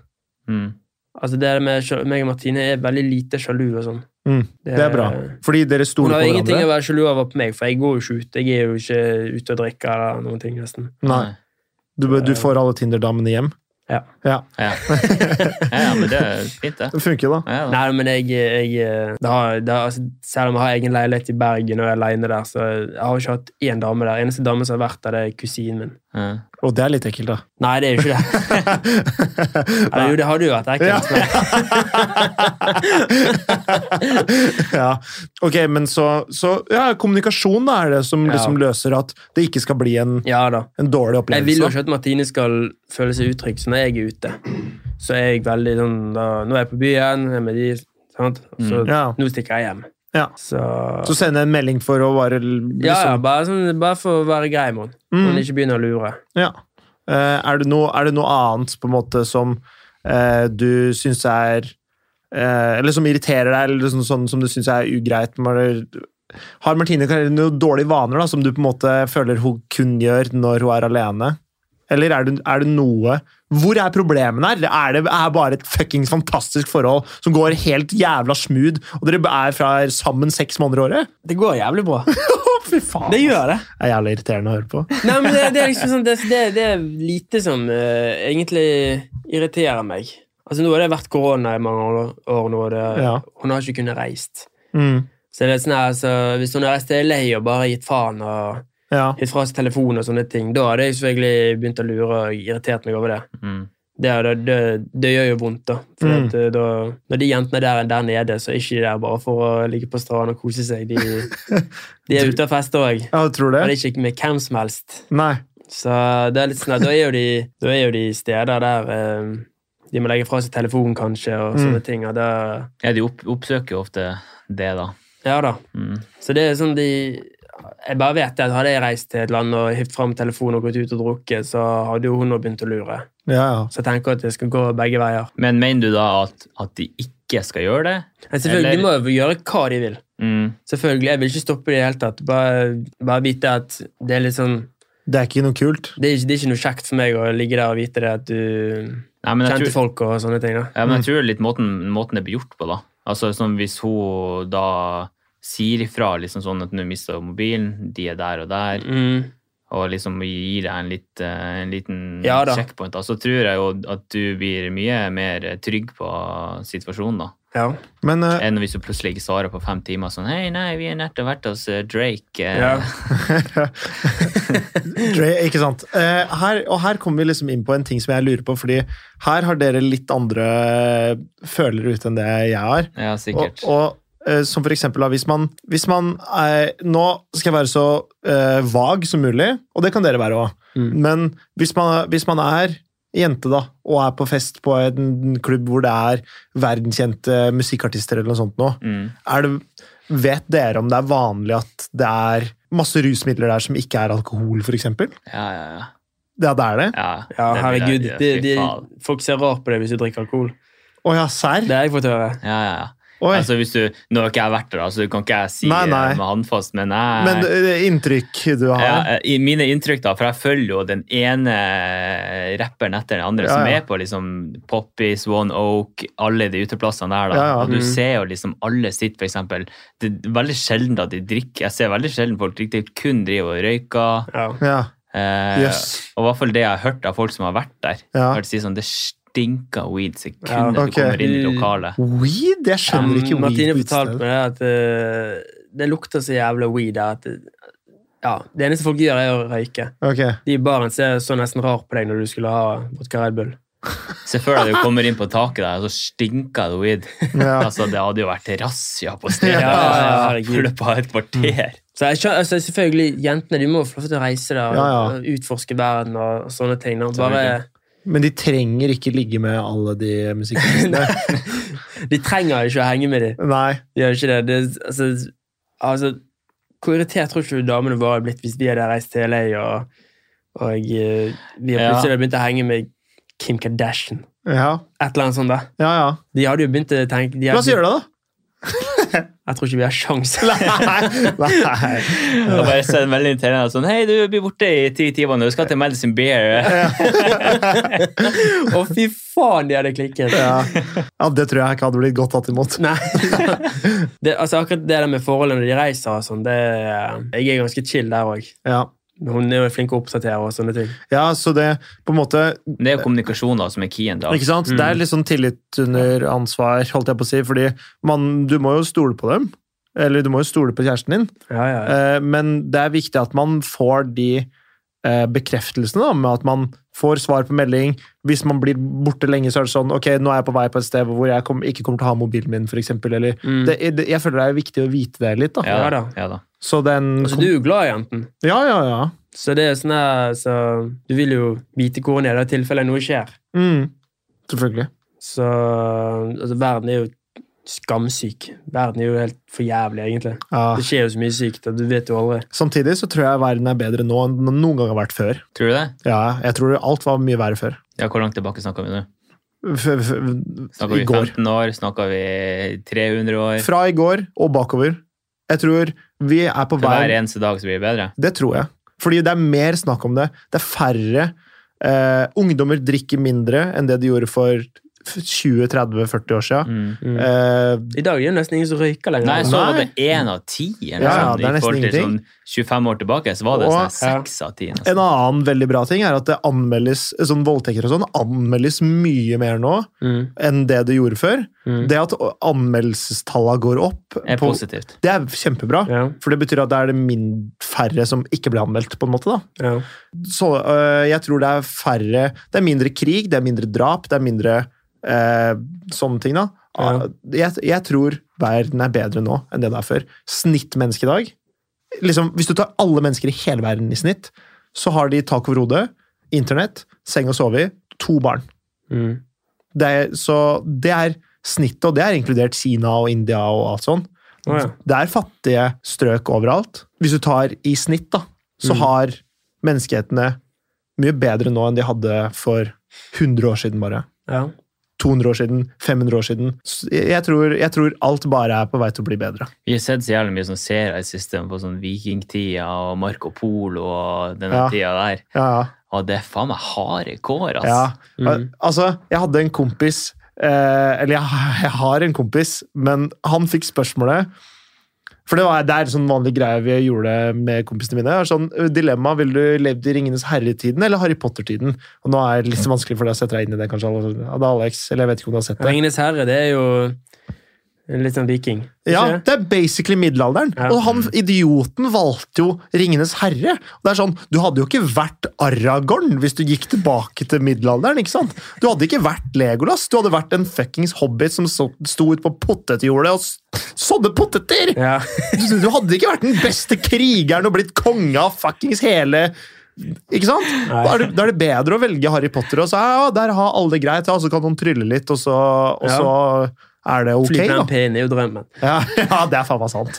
C: Mm.
A: Altså, det med sja- meg og Martine er veldig lite sjalu og sånn.
B: Mm. Det er bra.
A: Eh,
B: Fordi dere
A: Hun
B: stoler
A: har
B: på
A: ingenting å
B: hverandre.
A: være sjalu over på meg, for jeg går jo ikke ut. Jeg er jo ikke ute og drikker eller noen ting, nesten.
B: Nei. Du, du får alle Tinder-damene hjem.
A: Ja.
C: Ja.
B: [LAUGHS]
C: ja, ja, men det er fint, det.
B: Det funker, da.
C: Ja, ja.
A: Nei, men jeg, jeg det har, det har, altså, Selv om jeg har egen leilighet i Bergen og er aleine der, så jeg har ikke hatt én dame der. Eneste dame som har vært der, det er kusinen min.
C: Ja.
B: Og det er litt ekkelt, da.
A: [LAUGHS] Nei, det er jo ikke det.
B: [LAUGHS]
A: Eller, jo, det hadde jo vært ekkelt. men-
B: [LAUGHS] ja. Ok, men så, så ja, Kommunikasjon da er det som
A: Ja.
B: liksom løser at det ikke skal bli en,
A: Ja da.
B: en dårlig
A: Jeg vil jo
B: opplevelse.
A: ikke at Martine skal føle seg utrygg, så når jeg er ute, så er jeg veldig sånn da, Nå er jeg på byen, jeg er med de, sant? Så
B: da. Mm. Ja.
A: nå stikker jeg hjem.
B: Ja.
A: Så,
B: Så sende en melding for å bare liksom,
A: ja, ja, bare, sånn, bare for å være grei med henne.
B: Mm.
A: Hun ikke begynner å lure.
B: Ja. Eh, er, det noe, er det noe annet på en måte som eh, du syns er eh, Eller som irriterer deg, eller sånn, sånn som du syns er ugreit? med det? Har Martine kanskje noen dårlige vaner da, som du på en måte føler hun kun gjør når hun er alene? Eller er det, er det noe Hvor er problemene her? Er det er bare et fuckings fantastisk forhold som går helt jævla smooth, og dere er fra sammen seks måneder i året?
A: Det går jævlig bra.
B: [LAUGHS] Å, Fy faen!
A: Det
B: ass.
A: gjør det.
B: Det er jævlig irriterende å høre på.
A: Nei, men det, det er liksom sånn, det, det, det er lite som eh, egentlig irriterer meg. Altså, nå har det vært korona i mange år, år nå, og det,
B: Ja.
A: hun har ikke kunnet reist.
B: Mm.
A: Så det er sånn her, altså, hvis hun har reist til LA og bare gitt faen og
B: Ja.
A: gitt fra seg telefon og sånne ting, da hadde jeg selvfølgelig begynt å lure og irritert meg over det.
C: Mm.
A: Det, er- det, det, det gjør jo vondt, da. For
B: Mm.
A: at, eh, da. Når de jentene der er der nede, så er ikke de der bare for å ligge på stranden og kose seg. De, de er ute og fester òg.
B: [LAUGHS] Ja, du tror
A: Og
B: det?
A: det er ikke med hvem som helst.
B: Nei.
A: Så det er litt sånn at da er jo de, da er jo de steder der eh, de må legge fra seg telefonen, kanskje,
B: Mm.
A: og sånne ting. Og da,
C: Ja, de opp, oppsøker jo ofte det, da.
A: ja da.
C: Mm.
A: Så det er sånn de Jeg bare vet det at hadde jeg reist til et land og hivd fram telefonen og gått ut og drukket, så hadde jo hun nå begynt å lure.
B: Ja, ja.
A: Så jeg tenker at det skal gå begge veier.
C: Men mener du da at, at de ikke skal gjøre det?
A: Men selvfølgelig de må jo gjøre hva de vil.
C: Mm.
A: Selvfølgelig, Jeg vil ikke stoppe det i det hele tatt. Bare, bare vite at det er litt sånn
B: Det er ikke noe kult.
A: det er, ikke, det er ikke noe kjekt for meg å ligge der og vite det at du
C: Nei, men jeg
A: kjente
C: tror-
A: folk og sånne ting. da.
C: Ja,
B: Mm.
C: men jeg tror det er litt måten, måten det blir gjort på, da. Altså, sånn hvis hun da sier ifra liksom sånn at nå mister hun mobilen, de er der og der,
A: Mm.
C: og liksom gir deg en, litt, eh, en liten
A: Ja da.
C: checkpoint, da, så tror jeg jo at du blir mye mer trygg på situasjonen, da.
A: Ja.
B: Men [LAUGHS] eh,
C: Enn hvis du plutselig ikke svarer på fem timer sånn Hei, nei, vi har nettopp vært hos eh, Drake. eh,
A: Ja.
B: Dre, ikke sant. Eh, her, og her kommer vi liksom inn på en ting som jeg lurer på, fordi her har dere litt andre følere ute enn det jeg har.
C: [LAUGHS] ja sikkert.
B: Og, og eh, som for eksempel da, hvis man, hvis man er, Nå skal jeg være så eh, vag som mulig, og det kan dere være òg.
A: Mm.
B: Men hvis man, hvis man er jente da, og er på fest på en klubb hvor det er verdenskjente musikkartister eller noe sånt nå,
C: Mm.
B: er det, vet dere om det er vanlig at det er masse rusmidler der som ikke er alkohol, f.eks.?
C: Ja, ja, ja.
B: Ja, det er det.
C: ja,
A: Ja,
C: det vil jeg
A: herregud.
C: gjøre,
A: De,
C: fy
A: de,
C: faen.
A: folk ser rart på deg hvis du drikker alkohol.
B: Å ja, serr?
A: Det har jeg fått høre.
C: Ja, ja, ja.
B: Oi.
C: Altså, hvis du, nå har ikke jeg vært der, da, så kan ikke jeg si
B: Nei,
C: eh,
B: nei.
C: med håndfast, men jeg
B: Men eh, inntrykk du har?
C: ja, eh, i Mine inntrykk, da, for jeg følger jo den ene rapperen etter den andre
B: Ja,
C: som
B: ja.
C: er på liksom Poppies, One Oak, alle de uteplassene der, da.
B: Ja, ja.
C: Og du
A: Mhm.
C: ser jo liksom alle sitt, for eksempel. Det er veldig sjelden at de drikker. Jeg ser veldig sjelden folk drikker, de kun driver og røyker.
A: Ja.
B: Ja.
C: Eh,
B: Jøss.
C: Og i hvert fall det jeg har hørt av folk som har vært der.
B: Ja.
C: Har de sier sånn, det stinker weed
A: Ja,
C: sekundet
B: ok.
C: du kommer inn i lokalet.
B: Weed? Jeg skjønner ikke
A: Ja,
B: weed.
A: Um, Martine
B: på
A: fortalte
B: utestedet.
A: meg det at eh, det lukter så jævla weed der at eh, ja, Det eneste folk gjør, er å røyke.
B: Ok.
A: De i baren ser så nesten rar på deg når du skulle ha vodka Red Bull.
C: Se for deg at du kommer inn på taket der, og så stinker det weed.
B: Ja.
C: [LAUGHS] Altså, det hadde jo vært razzia på
A: Ja,
C: stedet
A: ja,
C: [LAUGHS]
A: ja, herregud.
C: i løpet av et kvarter.
A: Så jeg skjønner, altså selvfølgelig, Jentene de må få lov til å reise der og
B: Ja, ja.
A: og utforske verden og sånne ting. Og bare,
C: Selvfølgelig.
B: Men de trenger ikke ligge med alle de musikkartistene.
A: de trenger jo ikke å henge med dem.
B: Nei.
A: De gjør ikke det. det altså, altså, hvor irritert tror ikke du damene våre er blitt hvis vi hadde reist til LA og, og eh, vi
C: Ja.
A: plutselig hadde begynt å henge med Kim Kardashian?
B: Ja,
A: Et eller annet sånt, da.
B: ja. ja.
A: De hadde jo begynt å tenke de
B: La
A: hadde,
B: oss gjøre det, da!
A: Jeg tror ikke vi har
B: [LAUGHS]
A: sjanse.
B: Nei, nei.
C: Og bare send melding til henne sånn Hei, du blir borte i ti timer nå. Du skal til Medicine Beer.
A: Å, fy faen, de hadde klikket.
B: Ja. ja, det tror jeg ikke hadde blitt godt tatt imot.
A: [LAUGHS] Nei. Det, altså, akkurat det der med forholdet når de reiser og sånn, det Jeg er ganske chill der òg.
B: Ja.
A: Hun er jo flink å oppdatere og sånne ting.
B: ja, så det på en måte
C: Men Det er jo kommunikasjon da, som er keyen. da.
B: Ikke sant? Det er litt sånn tillit under ansvar, holdt jeg på å si, fordi man, du må jo stole på dem. Eller du må jo stole på kjæresten din.
A: Ja, ja.
B: Eh, Men det er viktig at man får de eh, bekreftelsene, da, med at man får svar på melding. Hvis man blir borte lenge, så er det sånn Ok, nå er jeg på vei på et sted hvor jeg kom, ikke kommer til å ha mobilen min, f.eks. Eller
A: Mm.
B: det, det, Jeg føler det er viktig å vite det litt, da.
C: Ja,
A: Ja
C: da.
A: da.
C: Ja, da.
B: Så den
A: Altså, du er jo glad i jenten,
B: Ja, ja, ja.
A: så det er sånn her, så du vil jo vite hvor hun er i det tilfellet noe skjer.
B: Mm. Selvfølgelig.
A: Så altså, verden er jo skamsyk. Verden er jo helt for jævlig, egentlig.
B: Ja.
A: Det skjer jo så mye sykt, og du vet jo aldri.
B: Samtidig så tror jeg verden er bedre nå enn den noen gang har vært før.
C: Tror du det?
B: Ja, jeg tror alt var mye verre før.
C: Ja, Hvor langt tilbake snakker vi nå?
B: F f I
C: Snakker vi
B: går.
C: 15 år? Snakker vi 300 år?
B: Fra i går og bakover. Jeg tror vi er på
C: Til
B: vei
C: hver eneste dag så blir det bedre?
B: Det tror jeg. Fordi det er mer snakk om det. Det er færre. Eh, ungdommer drikker mindre enn det de gjorde for 20-30-40 år siden.
C: Mm.
B: Eh,
A: I dag er det jo nesten ingen som røyker lenger.
C: Nei, så var det
B: Nei.
C: én av ti. eller
B: Ja,
C: sånn,
B: det er
C: i forhold
B: nesten
C: til Sånn 25 år tilbake så var det
B: Og-
C: sånn seks av ti. nesten.
B: en annen veldig bra ting er at det anmeldes sånn voldtekter og sånn anmeldes mye mer nå
A: Mm,
B: enn det det gjorde før.
A: mm.
B: Det at anmeldelsestallene går opp,
C: er
B: på,
C: positivt.
B: det er kjempebra.
A: Ja,
B: For det betyr at det er det min færre som ikke ble anmeldt, på en måte. da.
A: ja.
B: så, øh, jeg tror det er færre Det er mindre krig, det er mindre drap, det er mindre øh, sånne ting, da. Ah,
A: Ja.
B: Jeg, jeg tror verden er bedre nå enn det det er før. Snittmennesket i dag liksom, Hvis du tar alle mennesker i hele verden i snitt, så har de tak over hodet, internett, seng å sove i, to barn.
A: Mm.
B: Det er, så det er snittet, og det er inkludert Kina og India og alt sånn.
A: Å, ja.
B: Det er fattige strøk overalt. Hvis du tar i snitt, da, så
A: Mm.
B: har menneskehetene mye bedre nå enn de hadde for 100 år siden, bare.
A: ja.
B: 200 år siden, 500 år siden. Så Jeg jeg tror, jeg tror alt bare er på vei til å bli bedre.
C: Vi har sett så jævlig mye sånn serier i siste på sånn vikingtida og Marco Polo og den
B: Ja.
C: tida der.
B: Ja, ja.
C: Og det er faen meg harde kår, ass.
B: Ja.
A: Mm.
B: Altså, jeg hadde en kompis eh, Eller jeg, [LAUGHS] jeg har en kompis, men han fikk spørsmålet For det, var, det er en sånn vanlig greie vi gjorde med kompisene mine. Det er Sånn, dilemma, Vil du levd i Ringenes herre-tiden eller Harry Potter-tiden? Og Nå er det litt vanskelig for deg å sette deg inn i det, kanskje. Hadde Alex, eller jeg vet ikke om du har sett det.
A: Ringenes herre, det er jo litt sånn viking. ikke
B: Ja,
A: det?
B: Det er basically middelalderen.
A: Ja.
B: Og han idioten valgte jo Ringenes herre. Og det er sånn, Du hadde jo ikke vært Aragorn hvis du gikk tilbake til middelalderen. ikke sant? Du hadde ikke vært Legolas. Du hadde vært en fuckings hobbit som så- sto ut på potetjordet og s- sådde poteter!
C: [LAUGHS]
A: Ja.
B: Du du hadde ikke vært den beste krigeren og blitt konge av fuckings hele ikke sant? Da er, det, da er det bedre å velge Harry Potter og så ja, der har alle det greit, ja, så kan noen trylle litt, og så, og
A: Ja.
B: så er det ok.
A: Fly på
B: da.
A: den pinnen er jo drømmen.
B: Ja, [LAUGHS] ja det er faen meg sant.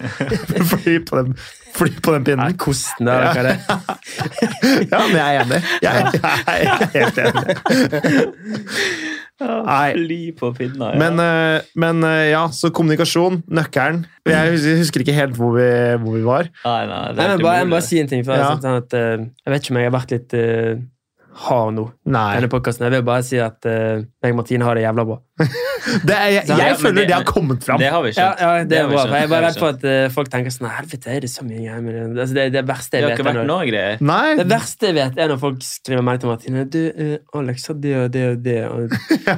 B: Fly på den, fly på den
A: Nei,
B: pinnen.
A: kosten der, hva er det?
B: Ja, men jeg er enig. Jeg er, jeg er helt enig. Nei,
C: Fly på pinna, ja.
B: men, eh, men eh, ja, så kommunikasjon, nøkkelen. Jeg hus- husker ikke helt hvor vi, hvor vi var.
C: nei, nei, det
A: Nei,
C: er
A: men
C: helt
A: bare, jeg må
C: umulig.
A: bare si en ting. For jeg,
B: Ja.
A: er sånn at, eh, jeg vet ikke om jeg har vært litt eh, hard nå.
B: Nei.
A: Denne podcasten. Jeg vil bare si at eh, meg og Martine har det jævla bra.
B: Det er, jeg,
C: Ja,
B: jeg
C: men
B: føler
C: det-
B: det har kommet fram.
C: Det har vi
A: Ja,
C: skjønt.
A: ja det er
C: har vi
A: bra.
C: skjønt,
A: for Jeg er
C: det har
A: bare
C: vi
A: redd for at eh, folk tenker sånn Helvete, er det så mye greier med det? Altså, det, er det verste
C: Det
A: jeg
C: har
A: vet.
C: ikke
A: er
C: vært
A: når-
C: noe greier.
B: Nei,
A: Det verste jeg vet, er når folk skriver melding til Martine. Du, eh, Alex har det og det og det.
C: [LAUGHS]
A: Og,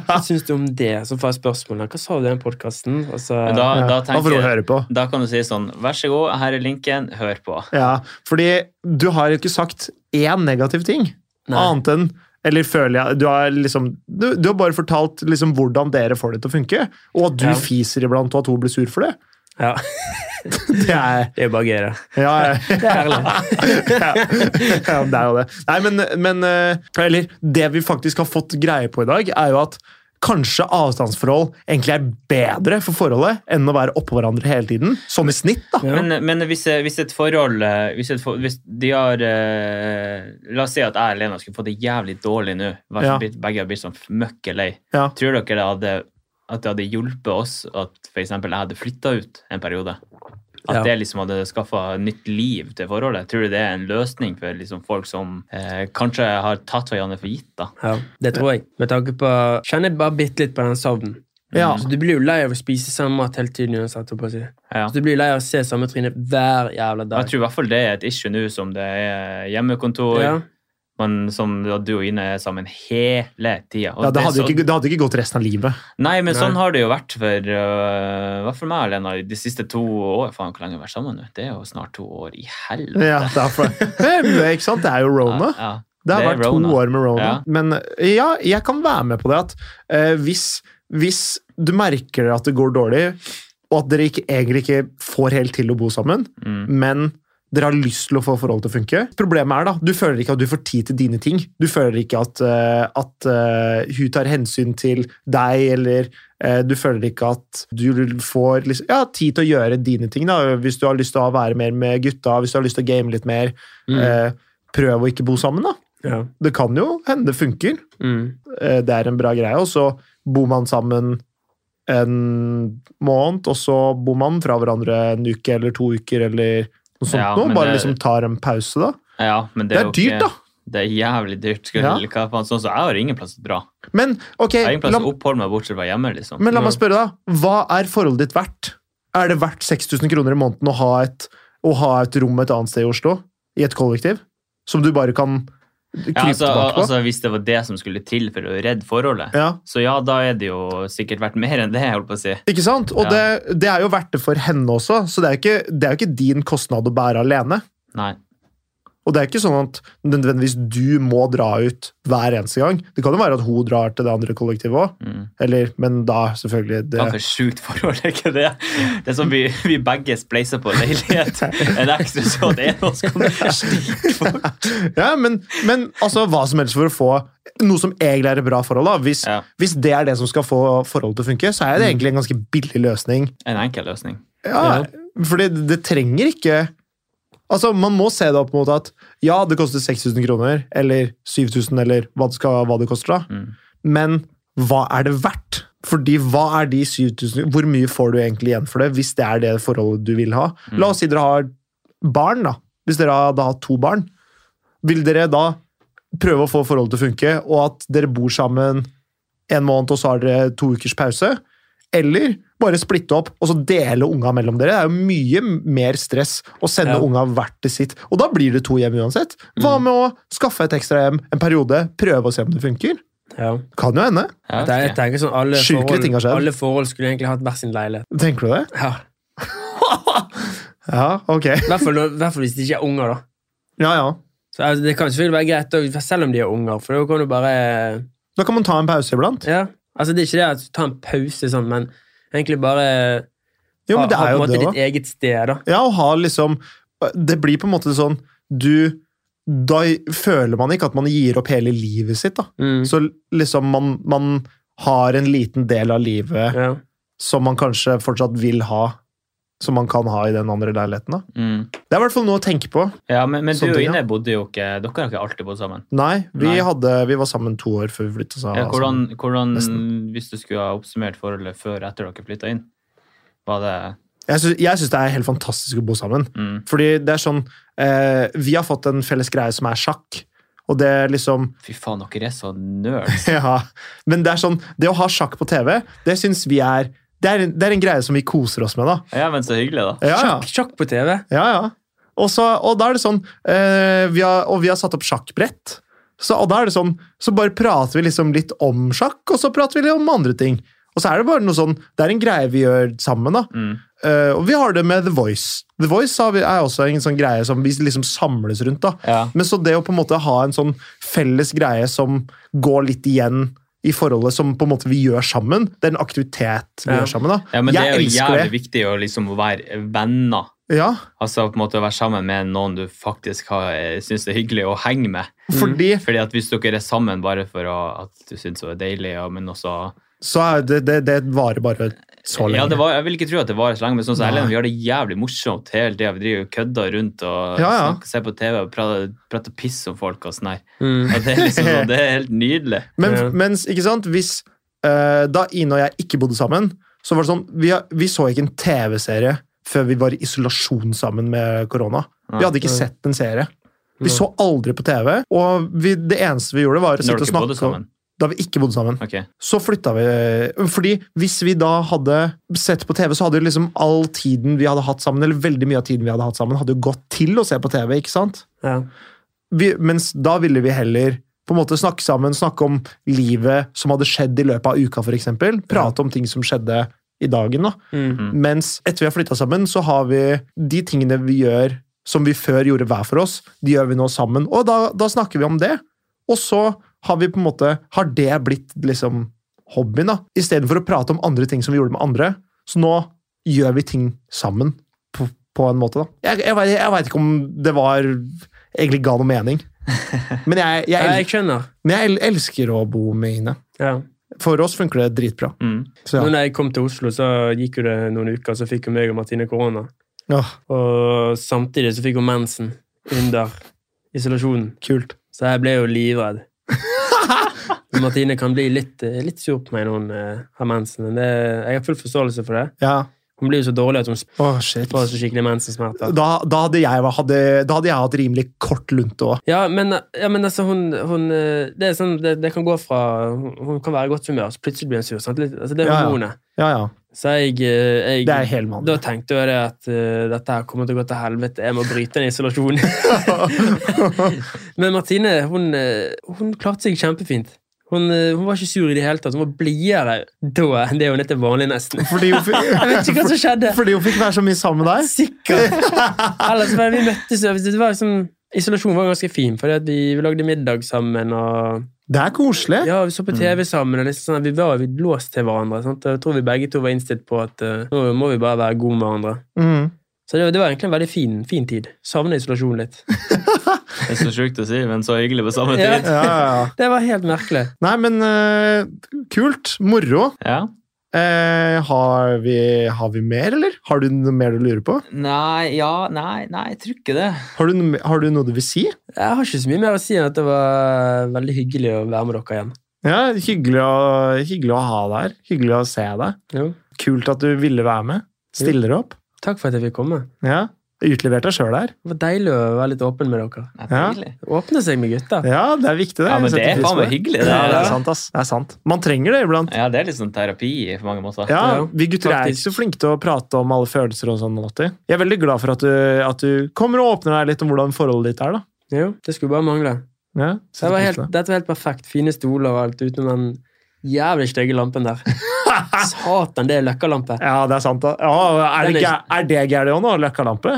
A: hva syns du om det? Så får jeg spørsmål. Hva sa du i den podkasten? Og så
C: Men da,
B: ja,
C: da
B: da får
C: tenker
B: du høre på.
C: Da kan du si sånn, vær så god, her er linken, hør på.
B: Ja, fordi du har jo ikke sagt én negativ ting.
A: Nei.
B: Annet enn Eller føler jeg Du har liksom Du, du har bare fortalt liksom hvordan dere får det til å funke, og at du
A: Ja.
B: fiser iblant og at hun blir sur for det.
A: Ja,
B: Det er
A: det er jo bare gøy, det.
B: Ja, ja.
A: [LAUGHS] Det er ærlig.
B: [LAUGHS] ja, ja det er jo det. Nei, men, men eh, Eller det vi faktisk har fått greie på i dag, er jo at kanskje avstandsforhold egentlig er bedre for forholdet enn å være oppå hverandre hele tiden. Sånn i snitt, da.
A: Ja.
C: Men, men hvis, hvis et forhold eh, hvis, et, for- hvis de har eh, La oss si at jeg og Lena skulle fått det jævlig dårlig nå. Vær så
B: Ja.
C: blitt- Begge har blitt sånn møkkelei.
B: Ja.
C: Tror dere det hadde at det hadde hjulpet oss at for eksempel jeg hadde flytta ut en periode. At
A: Ja.
C: det liksom hadde skaffa nytt liv til forholdet. Tror du det er en løsning for liksom folk som eh, kanskje har tatt hverandre for gitt? da?
A: Ja, det tror jeg. Med tanke på Kjenner jeg bare bitte litt på den savnen.
B: Ja.
A: Så Du blir jo lei av å spise samme mat hele tiden uansett. holdt på å si.
C: Ja.
A: Så Du blir lei av å se samme tryne hver jævla
C: Jeg
A: dag.
C: tror i hvert fall det er et issue nå som det er hjemmekontor.
A: Ja.
C: Men som du og Ine er sammen hele tida.
B: Ja, det, hadde
A: sånn-
B: jo ikke, det hadde ikke gått resten av livet.
C: sånn- Nei, men
A: Nei.
C: sånn har det jo vært for øh, hva for meg og Lena de siste to år. Faen, hvor lenge har vi vært sammen nå? Det er jo snart to år. I helvete.
B: Ja, det, er
C: [LAUGHS]
B: for, Eh, ikke sant? det er jo rona.
C: Ja,
B: Det har
C: det er
B: vært
C: Rona.
B: to år med rona.
C: Ja.
B: Men eh, ja, jeg kan være med på det at eh, hvis, hvis du merker at det går dårlig, og at dere ikke, egentlig ikke får helt til å bo sammen,
C: Mm.
B: men dere har lyst til å få forholdet til å funke. Problemet er da, du føler ikke at du får tid til dine ting. Du føler ikke at, eh, at eh, hun tar hensyn til deg, eller eh, du føler ikke at du får liksom, ja, tid til å gjøre dine ting. Da. Hvis du har lyst til å være mer med gutta, hvis du har lyst til å game litt mer,
A: Mm.
B: eh, prøv å ikke bo sammen. da.
A: Ja.
B: Det kan jo hende det funker.
A: Mm.
B: Eh, Det er en bra greie. Og så bor man sammen en måned, og så bor man fra hverandre en uke eller to uker eller noe sånt.
C: Ja,
B: noe.
C: men
B: Bare
C: det-
B: liksom tar en pause, da.
C: ja, men det
B: Det
C: er,
B: er
C: jo
B: dyrt,
C: ikke,
B: da!
C: Det er jævlig dyrt. Skulle,
B: Ja.
C: hva faen, sånn, så jeg har ingen plass å dra.
B: Men ok,
C: Jeg har ingen plass
B: la,
C: å oppholde meg bortsett fra hjemme, liksom.
B: men la
A: Ja.
B: meg spørre, da. Hva er forholdet ditt verdt? Er det verdt 6000 kroner i måneden å ha et, å ha et rom et annet sted i Oslo? I et kollektiv? Som du bare kan krype
C: ja, altså,
B: tilbake på?
C: altså, hvis det var det som skulle til for å redde forholdet,
B: ja.
C: så ja, da er det jo sikkert verdt mer enn det, jeg holdt på å si.
B: Ikke sant? Og
C: Ja.
B: det, det er jo verdt det for henne også, så det er jo ikke, det er jo ikke din kostnad å bære alene.
C: Nei.
B: Og det er ikke sånn at nødvendigvis du må dra ut hver eneste gang. Det kan jo være at hun drar til det andre kollektivet òg,
C: Mm.
B: men da selvfølgelig
C: Det
B: det.
C: var for sjukt forhold, [LAUGHS] er ikke det? Det er som vi, vi begge spleiser på
B: [LAUGHS]
C: leilighet. En ekstra sånn så at en av oss kan stikke folk.
B: [LAUGHS] Ja, men, men altså, hva som helst for å få noe som egentlig er et bra forhold. da. Hvis,
C: Ja,
B: hvis det er det som skal få forholdet til å funke, så er det egentlig en ganske billig løsning.
C: en enkel løsning.
B: Mm. Ja, fordi det, det trenger ikke Altså, Man må se det opp mot at ja, det koster 6000 kroner, eller 7000, eller hva det, skal, hva det koster, da.
C: Mm.
B: Men hva er det verdt? Fordi hva er de 7000 Hvor mye får du egentlig igjen for det, hvis det er det forholdet du vil ha? La oss si dere har barn, da. Hvis dere hadde hatt to barn, vil dere da prøve å få forholdet til å funke, og at dere bor sammen en måned, og så har dere to ukers pause? Eller bare splitte opp og så dele unga mellom dere. Det er jo mye mer stress å sende
A: Ja.
B: unga hvert til sitt. Og da blir det to hjem uansett. Hva med å skaffe et ekstra hjem en periode, prøve å se om det funker?
A: ja.
B: Kan jo hende.
C: Ja,
A: Det, jeg tenker sånn, alle
B: Sjuke ting har
A: forhold,
B: skjedd.
A: alle forhold skulle egentlig hatt hver sin leilighet.
B: Tenker du det?
A: Ja.
B: Ja, ok.
A: I hvert fall når- i hvert fall hvis de ikke er unger, da.
B: Ja, ja.
A: Så altså, Det kan selvfølgelig være greit da, selv om de er unger, for da kan du bare
B: Da kan man ta en pause iblant.
A: Ja, altså Det er ikke det at du tar en pause, sånn, men egentlig bare
B: Jo, men det
A: ha,
B: er
A: ha på en
B: jo
A: måte
B: det
A: ditt
B: òg.
A: eget sted. da.
B: Ja, å ha liksom Det blir på en måte sånn Du Da føler man ikke at man gir opp hele livet sitt, da.
A: Mm.
B: Så liksom man, man har en liten del av livet
A: Ja.
B: som man kanskje fortsatt vil ha, som man kan ha i den andre leiligheten. da.
C: Mm.
B: Det er i hvert fall noe å tenke på.
C: Ja, men, men du
B: Sånn
C: og
B: ting, ja.
C: Ine bodde jo ikke Dere har ikke alltid bodd sammen.
B: Nei, vi,
C: Nei.
B: Hadde, vi var sammen to år før vi flytta
C: Ja, hvordan,
B: sånn
C: hvordan
B: nesten.
C: Hvis du skulle ha oppsummert forholdet før og etter dere flytta inn, var det
B: Jeg syns- jeg syns det er helt fantastisk å bo sammen.
C: mm,
B: Fordi det er sånn eh, Vi har fått en felles greie som er sjakk, og det er
C: [LAUGHS]
B: liksom [LAUGHS]
C: Fy faen, dere er så nerds.
B: Ja, men det er sånn Det å ha sjakk på TV, det syns vi er det er, en, det er en greie som vi koser oss med, da.
C: Ja, men så hyggelig, da.
B: Ja, ja.
A: Sjakk, sjakk på TV.
B: Ja, ja. Og, så, og da er det sånn eh, vi har, Og vi har satt opp sjakkbrett. Så, og da er det sånn, så bare prater vi liksom litt om sjakk, og så prater vi litt om andre ting. Og så er det bare noe sånn, det er en greie vi gjør sammen. da.
C: Mm.
B: Eh, og vi har det med The Voice. The Voice har vi, er også en sånn greie som vi liksom samles rundt. da.
C: Ja.
B: Men så det å på en måte ha en sånn felles greie som går litt igjen i forholdet som på en måte vi gjør sammen, det er en aktivitet vi
A: Ja.
B: gjør sammen. da.
C: ja, men det er jo
B: elsker
C: jævlig viktig å liksom være venner.
B: det. Ja,
C: Altså på en måte å være sammen med noen du faktisk har- syns er hyggelig å henge med.
B: fordi
C: Fordi at Hvis dere er sammen bare for å, at du syns det er deilig, ja, men også
B: så er det, det, det varer bare så lenge.
C: Ja, det var, Jeg vil ikke tro at det varer så lenge, men sånn som
B: Nei.
C: Ellen, vi har det jævlig morsomt hele tida. Vi driver og kødder rundt og
B: Ja, ja.
C: snakker, ser på TV og prater, prater piss om folk og sånn her.
A: Mm.
C: Og det er liksom sånn, det er helt nydelig.
B: Men,
A: Ja.
B: mens, ikke sant, hvis eh, da Ine og jeg ikke bodde sammen, så var det sånn Vi, har- vi så ikke en TV-serie før vi var i isolasjon sammen med korona. Vi hadde ikke
A: Nei.
B: sett en serie. Vi
A: Nei.
B: så aldri på TV, og vi, det eneste vi gjorde, var å
C: Når
B: sitte og
C: dere bodde
B: snakke om
C: sammen?
B: Da vi ikke bodde sammen.
C: Ok.
B: Så flytta vi øh, Fordi hvis vi da hadde sett på TV, så hadde jo liksom all tiden vi hadde hatt sammen, eller veldig mye av tiden vi hadde hatt sammen, hadde jo gått til å se på TV, ikke sant?
A: Ja.
B: vi, mens da ville vi heller på en måte snakke sammen, snakke om livet som hadde skjedd i løpet av uka, f.eks. Prate om ting som skjedde i dagen. da.
A: Mm.
C: Mm.
B: Mens etter vi har flytta sammen, så har vi de tingene vi gjør som vi før gjorde hver for oss, de gjør vi nå sammen. Og da, da snakker vi om det. Og så har vi på en måte, har det blitt liksom hobbyen, da. Istedenfor å prate om andre ting som vi gjorde med andre. Så nå gjør vi ting sammen, på, på en måte, da. Jeg, jeg, vet- jeg veit ikke om det var egentlig ga noe mening. Men jeg, jeg,
A: Ja,
B: el-
A: jeg skjønner.
B: men jeg el- elsker å bo med Ine.
A: Ja.
B: For oss funker det dritbra.
C: Mm.
B: Så
A: Nå
B: ja.
A: når jeg kom til Oslo, så gikk jo det noen uker, så fikk jo meg og Martine korona.
B: Åh,
A: Og samtidig så fikk hun mensen under isolasjonen.
B: kult.
A: Så jeg ble jo livredd. Martine kan bli litt, eh, litt sur på meg når hun eh, har mensen. Men det, jeg har full forståelse for det.
B: Ja.
A: Hun blir jo så dårlig at hun
B: Åh, shit.
A: får så skikkelig mensensmerter.
B: da, da, hadde jeg, vært- hadde, da hadde jeg hatt rimelig kort lunte òg.
A: Ja, men, ja, men altså, hun, hun eh, det, er sånn, det, det kan gå fra Hun hun kan være i godt humør, så plutselig blir hun sur. Sant? Litt, altså, det er
B: Ja, ja.
A: hormonet.
B: Ja, ja.
A: Så jeg, eh, jeg
B: Det er helt
A: Da
B: vanlig.
A: tenkte jeg det at eh, dette her kommer til å gå til helvete. Jeg må bryte den isolasjonen. [LAUGHS] Men Martine hun, eh, hun klarte seg kjempefint. Hun, eh, hun var ikke sur i det hele tatt. Hun var blidere da enn det hun er til vanlig, nesten.
B: [LAUGHS] Fordi hun,
A: Jeg vet ikke hva som skjedde.
B: fordi hun fikk være så mye sammen med deg?
A: Sikkert. Ellers var vi møttes jo. det var liksom, Isolasjonen var ganske fin, fordi at vi, vi lagde middag sammen. og
B: Det er koselig.
A: ja, Vi så på TV sammen. og liksom sånn, at Vi var jo låst til hverandre. Sant? Jeg tror vi begge to var innstilt på at eh, nå må vi bare være gode med hverandre.
B: Mm.
A: Så det, det var egentlig en veldig fin, fin tid. Savner isolasjon litt.
C: Det er så sjukt å si, men så hyggelig på samme
A: Ja.
C: tid.
B: Ja, ja, ja.
A: Det var helt merkelig.
B: Nei, men eh, kult. Moro.
C: Ja.
B: Eh, har, vi, har vi mer, eller? Har du noe mer du lurer på?
C: Nei, ja, nei, nei, jeg tror ikke det.
B: Har du, noe me- har du noe du vil si?
A: Jeg har ikke så mye mer å si enn at det var veldig hyggelig å være med dere igjen.
B: Ja, hyggelig å, hyggelig å ha deg her. Hyggelig å se deg.
A: Jo.
B: Kult at du ville være med. Stiller opp.
A: Takk for at jeg fikk komme.
B: Ja. Utlevert deg sjøl her.
A: Det var deilig å være litt åpen med dere.
C: Nei,
B: Ja.
C: hyggelig.
A: Åpne seg med gutter.
B: Ja, det er viktig, det.
C: Ja, men
B: Jeg
C: det
B: setter
C: er
B: pris
C: faen
B: på
C: meg hyggelig.
B: Ja,
C: Det,
B: det er
C: ja.
B: sant, ass. Det er sant. Man trenger det iblant.
C: ja, det er litt sånn terapi på mange måter.
B: Ja,
A: Ja,
B: vi gutter er ikke
A: faktisk.
B: så flinke til å prate om alle følelser og sånn alltid. Jeg er veldig glad for at du, at du kommer og åpner deg litt om hvordan forholdet ditt er, da.
A: Jo, det skulle bare mangle.
B: Ja,
A: Det var helt,
B: setter pris på
A: dette var helt perfekt. Fine stoler og alt, utenom den jævlig stygge lampen
C: [LAUGHS]
A: der. Satan, det er løkkalampe.
B: ja, det er sant. da. Ja, er, det,
A: Den er
B: gæ- er det gærent òg, nå? Løkkalampe?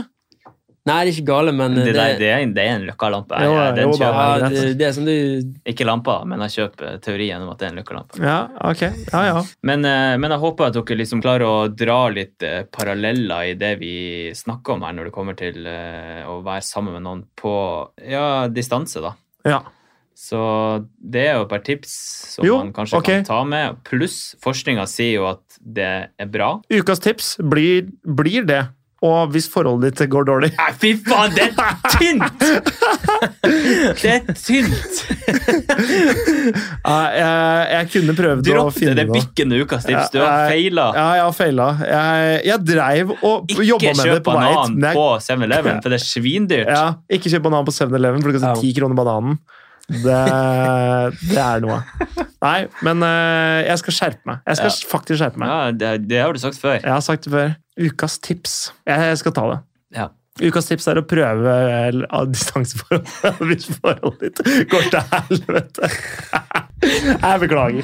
A: Nei, det er ikke gale, men
C: Det,
A: det,
C: der, det, er, en- det er en løkkalampe.
B: Jo,
C: Ja, den
B: jo da.
C: kjøper.
A: ja,
B: det er
A: det, det er som du
C: Ikke lampa, men jeg kjøper teorien om at det er en løkkalampe.
B: Ja, ok. Ja, ja.
C: Men, eh, men jeg håper at dere liksom klarer å dra litt eh, paralleller i det vi snakker om her, når det kommer til eh, å være sammen med noen på ja, distanse, da.
B: ja.
C: Så det er jo et par tips som
B: Jo,
C: man kanskje
B: ok.
C: kan ta med. Pluss forskninga sier jo at det er bra.
B: Ukas tips blir, blir det. Og hvis forholdet ditt går dårlig
C: Nei, fy faen, det er
B: [LAUGHS]
C: tynt! Det er tynt!
B: ja, jeg, jeg kunne prøvd å
C: Dropp det.
B: finne
C: Det er bikkende ukas tips. Du har
B: Ja, jeg-
C: feila.
B: Ja, jeg har feila. Jeg, jeg dreiv og jobba
C: Ikke
B: med det
C: kjøp
B: på vei hit.
C: banan
B: men jeg-
C: på 7-Eleven, for det er svindyrt.
B: Ja, ikke kjøp banan på 7-Eleven, for det koster
A: Ja.
B: 10 kroner bananen. Det, det er noe. Nei, men eh, jeg skal skjerpe meg. Jeg skal faktisk skjerpe meg.
C: Ja, det, det har du sagt før.
B: Jeg har sagt det før. Ukas tips. Jeg skal ta det.
C: Ja.
B: Ukas tips er å prøve eh, av distanseforhold [LAUGHS] hvis forholdet ditt går til helvete. [LAUGHS] Jeg beklager.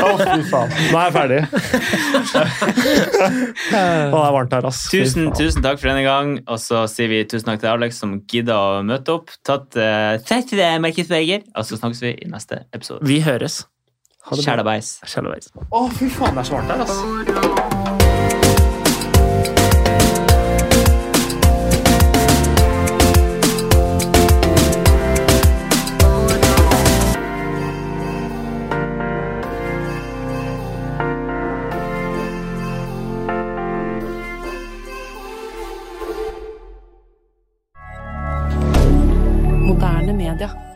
B: Å, fy faen. Nå er jeg ferdig. Å, det er varmt her, ass. Fy
C: Tusen,
B: faen.
C: tusen takk for denne gang, og så sier vi tusen takk til Alex som gidda å møte opp. Tatt, eh, takk til deg, Markus Berger, og så snakkes vi i neste episode.
B: Vi høres.
C: Kjælebeis.
B: Kjæleveis. Å, fy faen, det er så varmt her, ass.
D: Moderne media.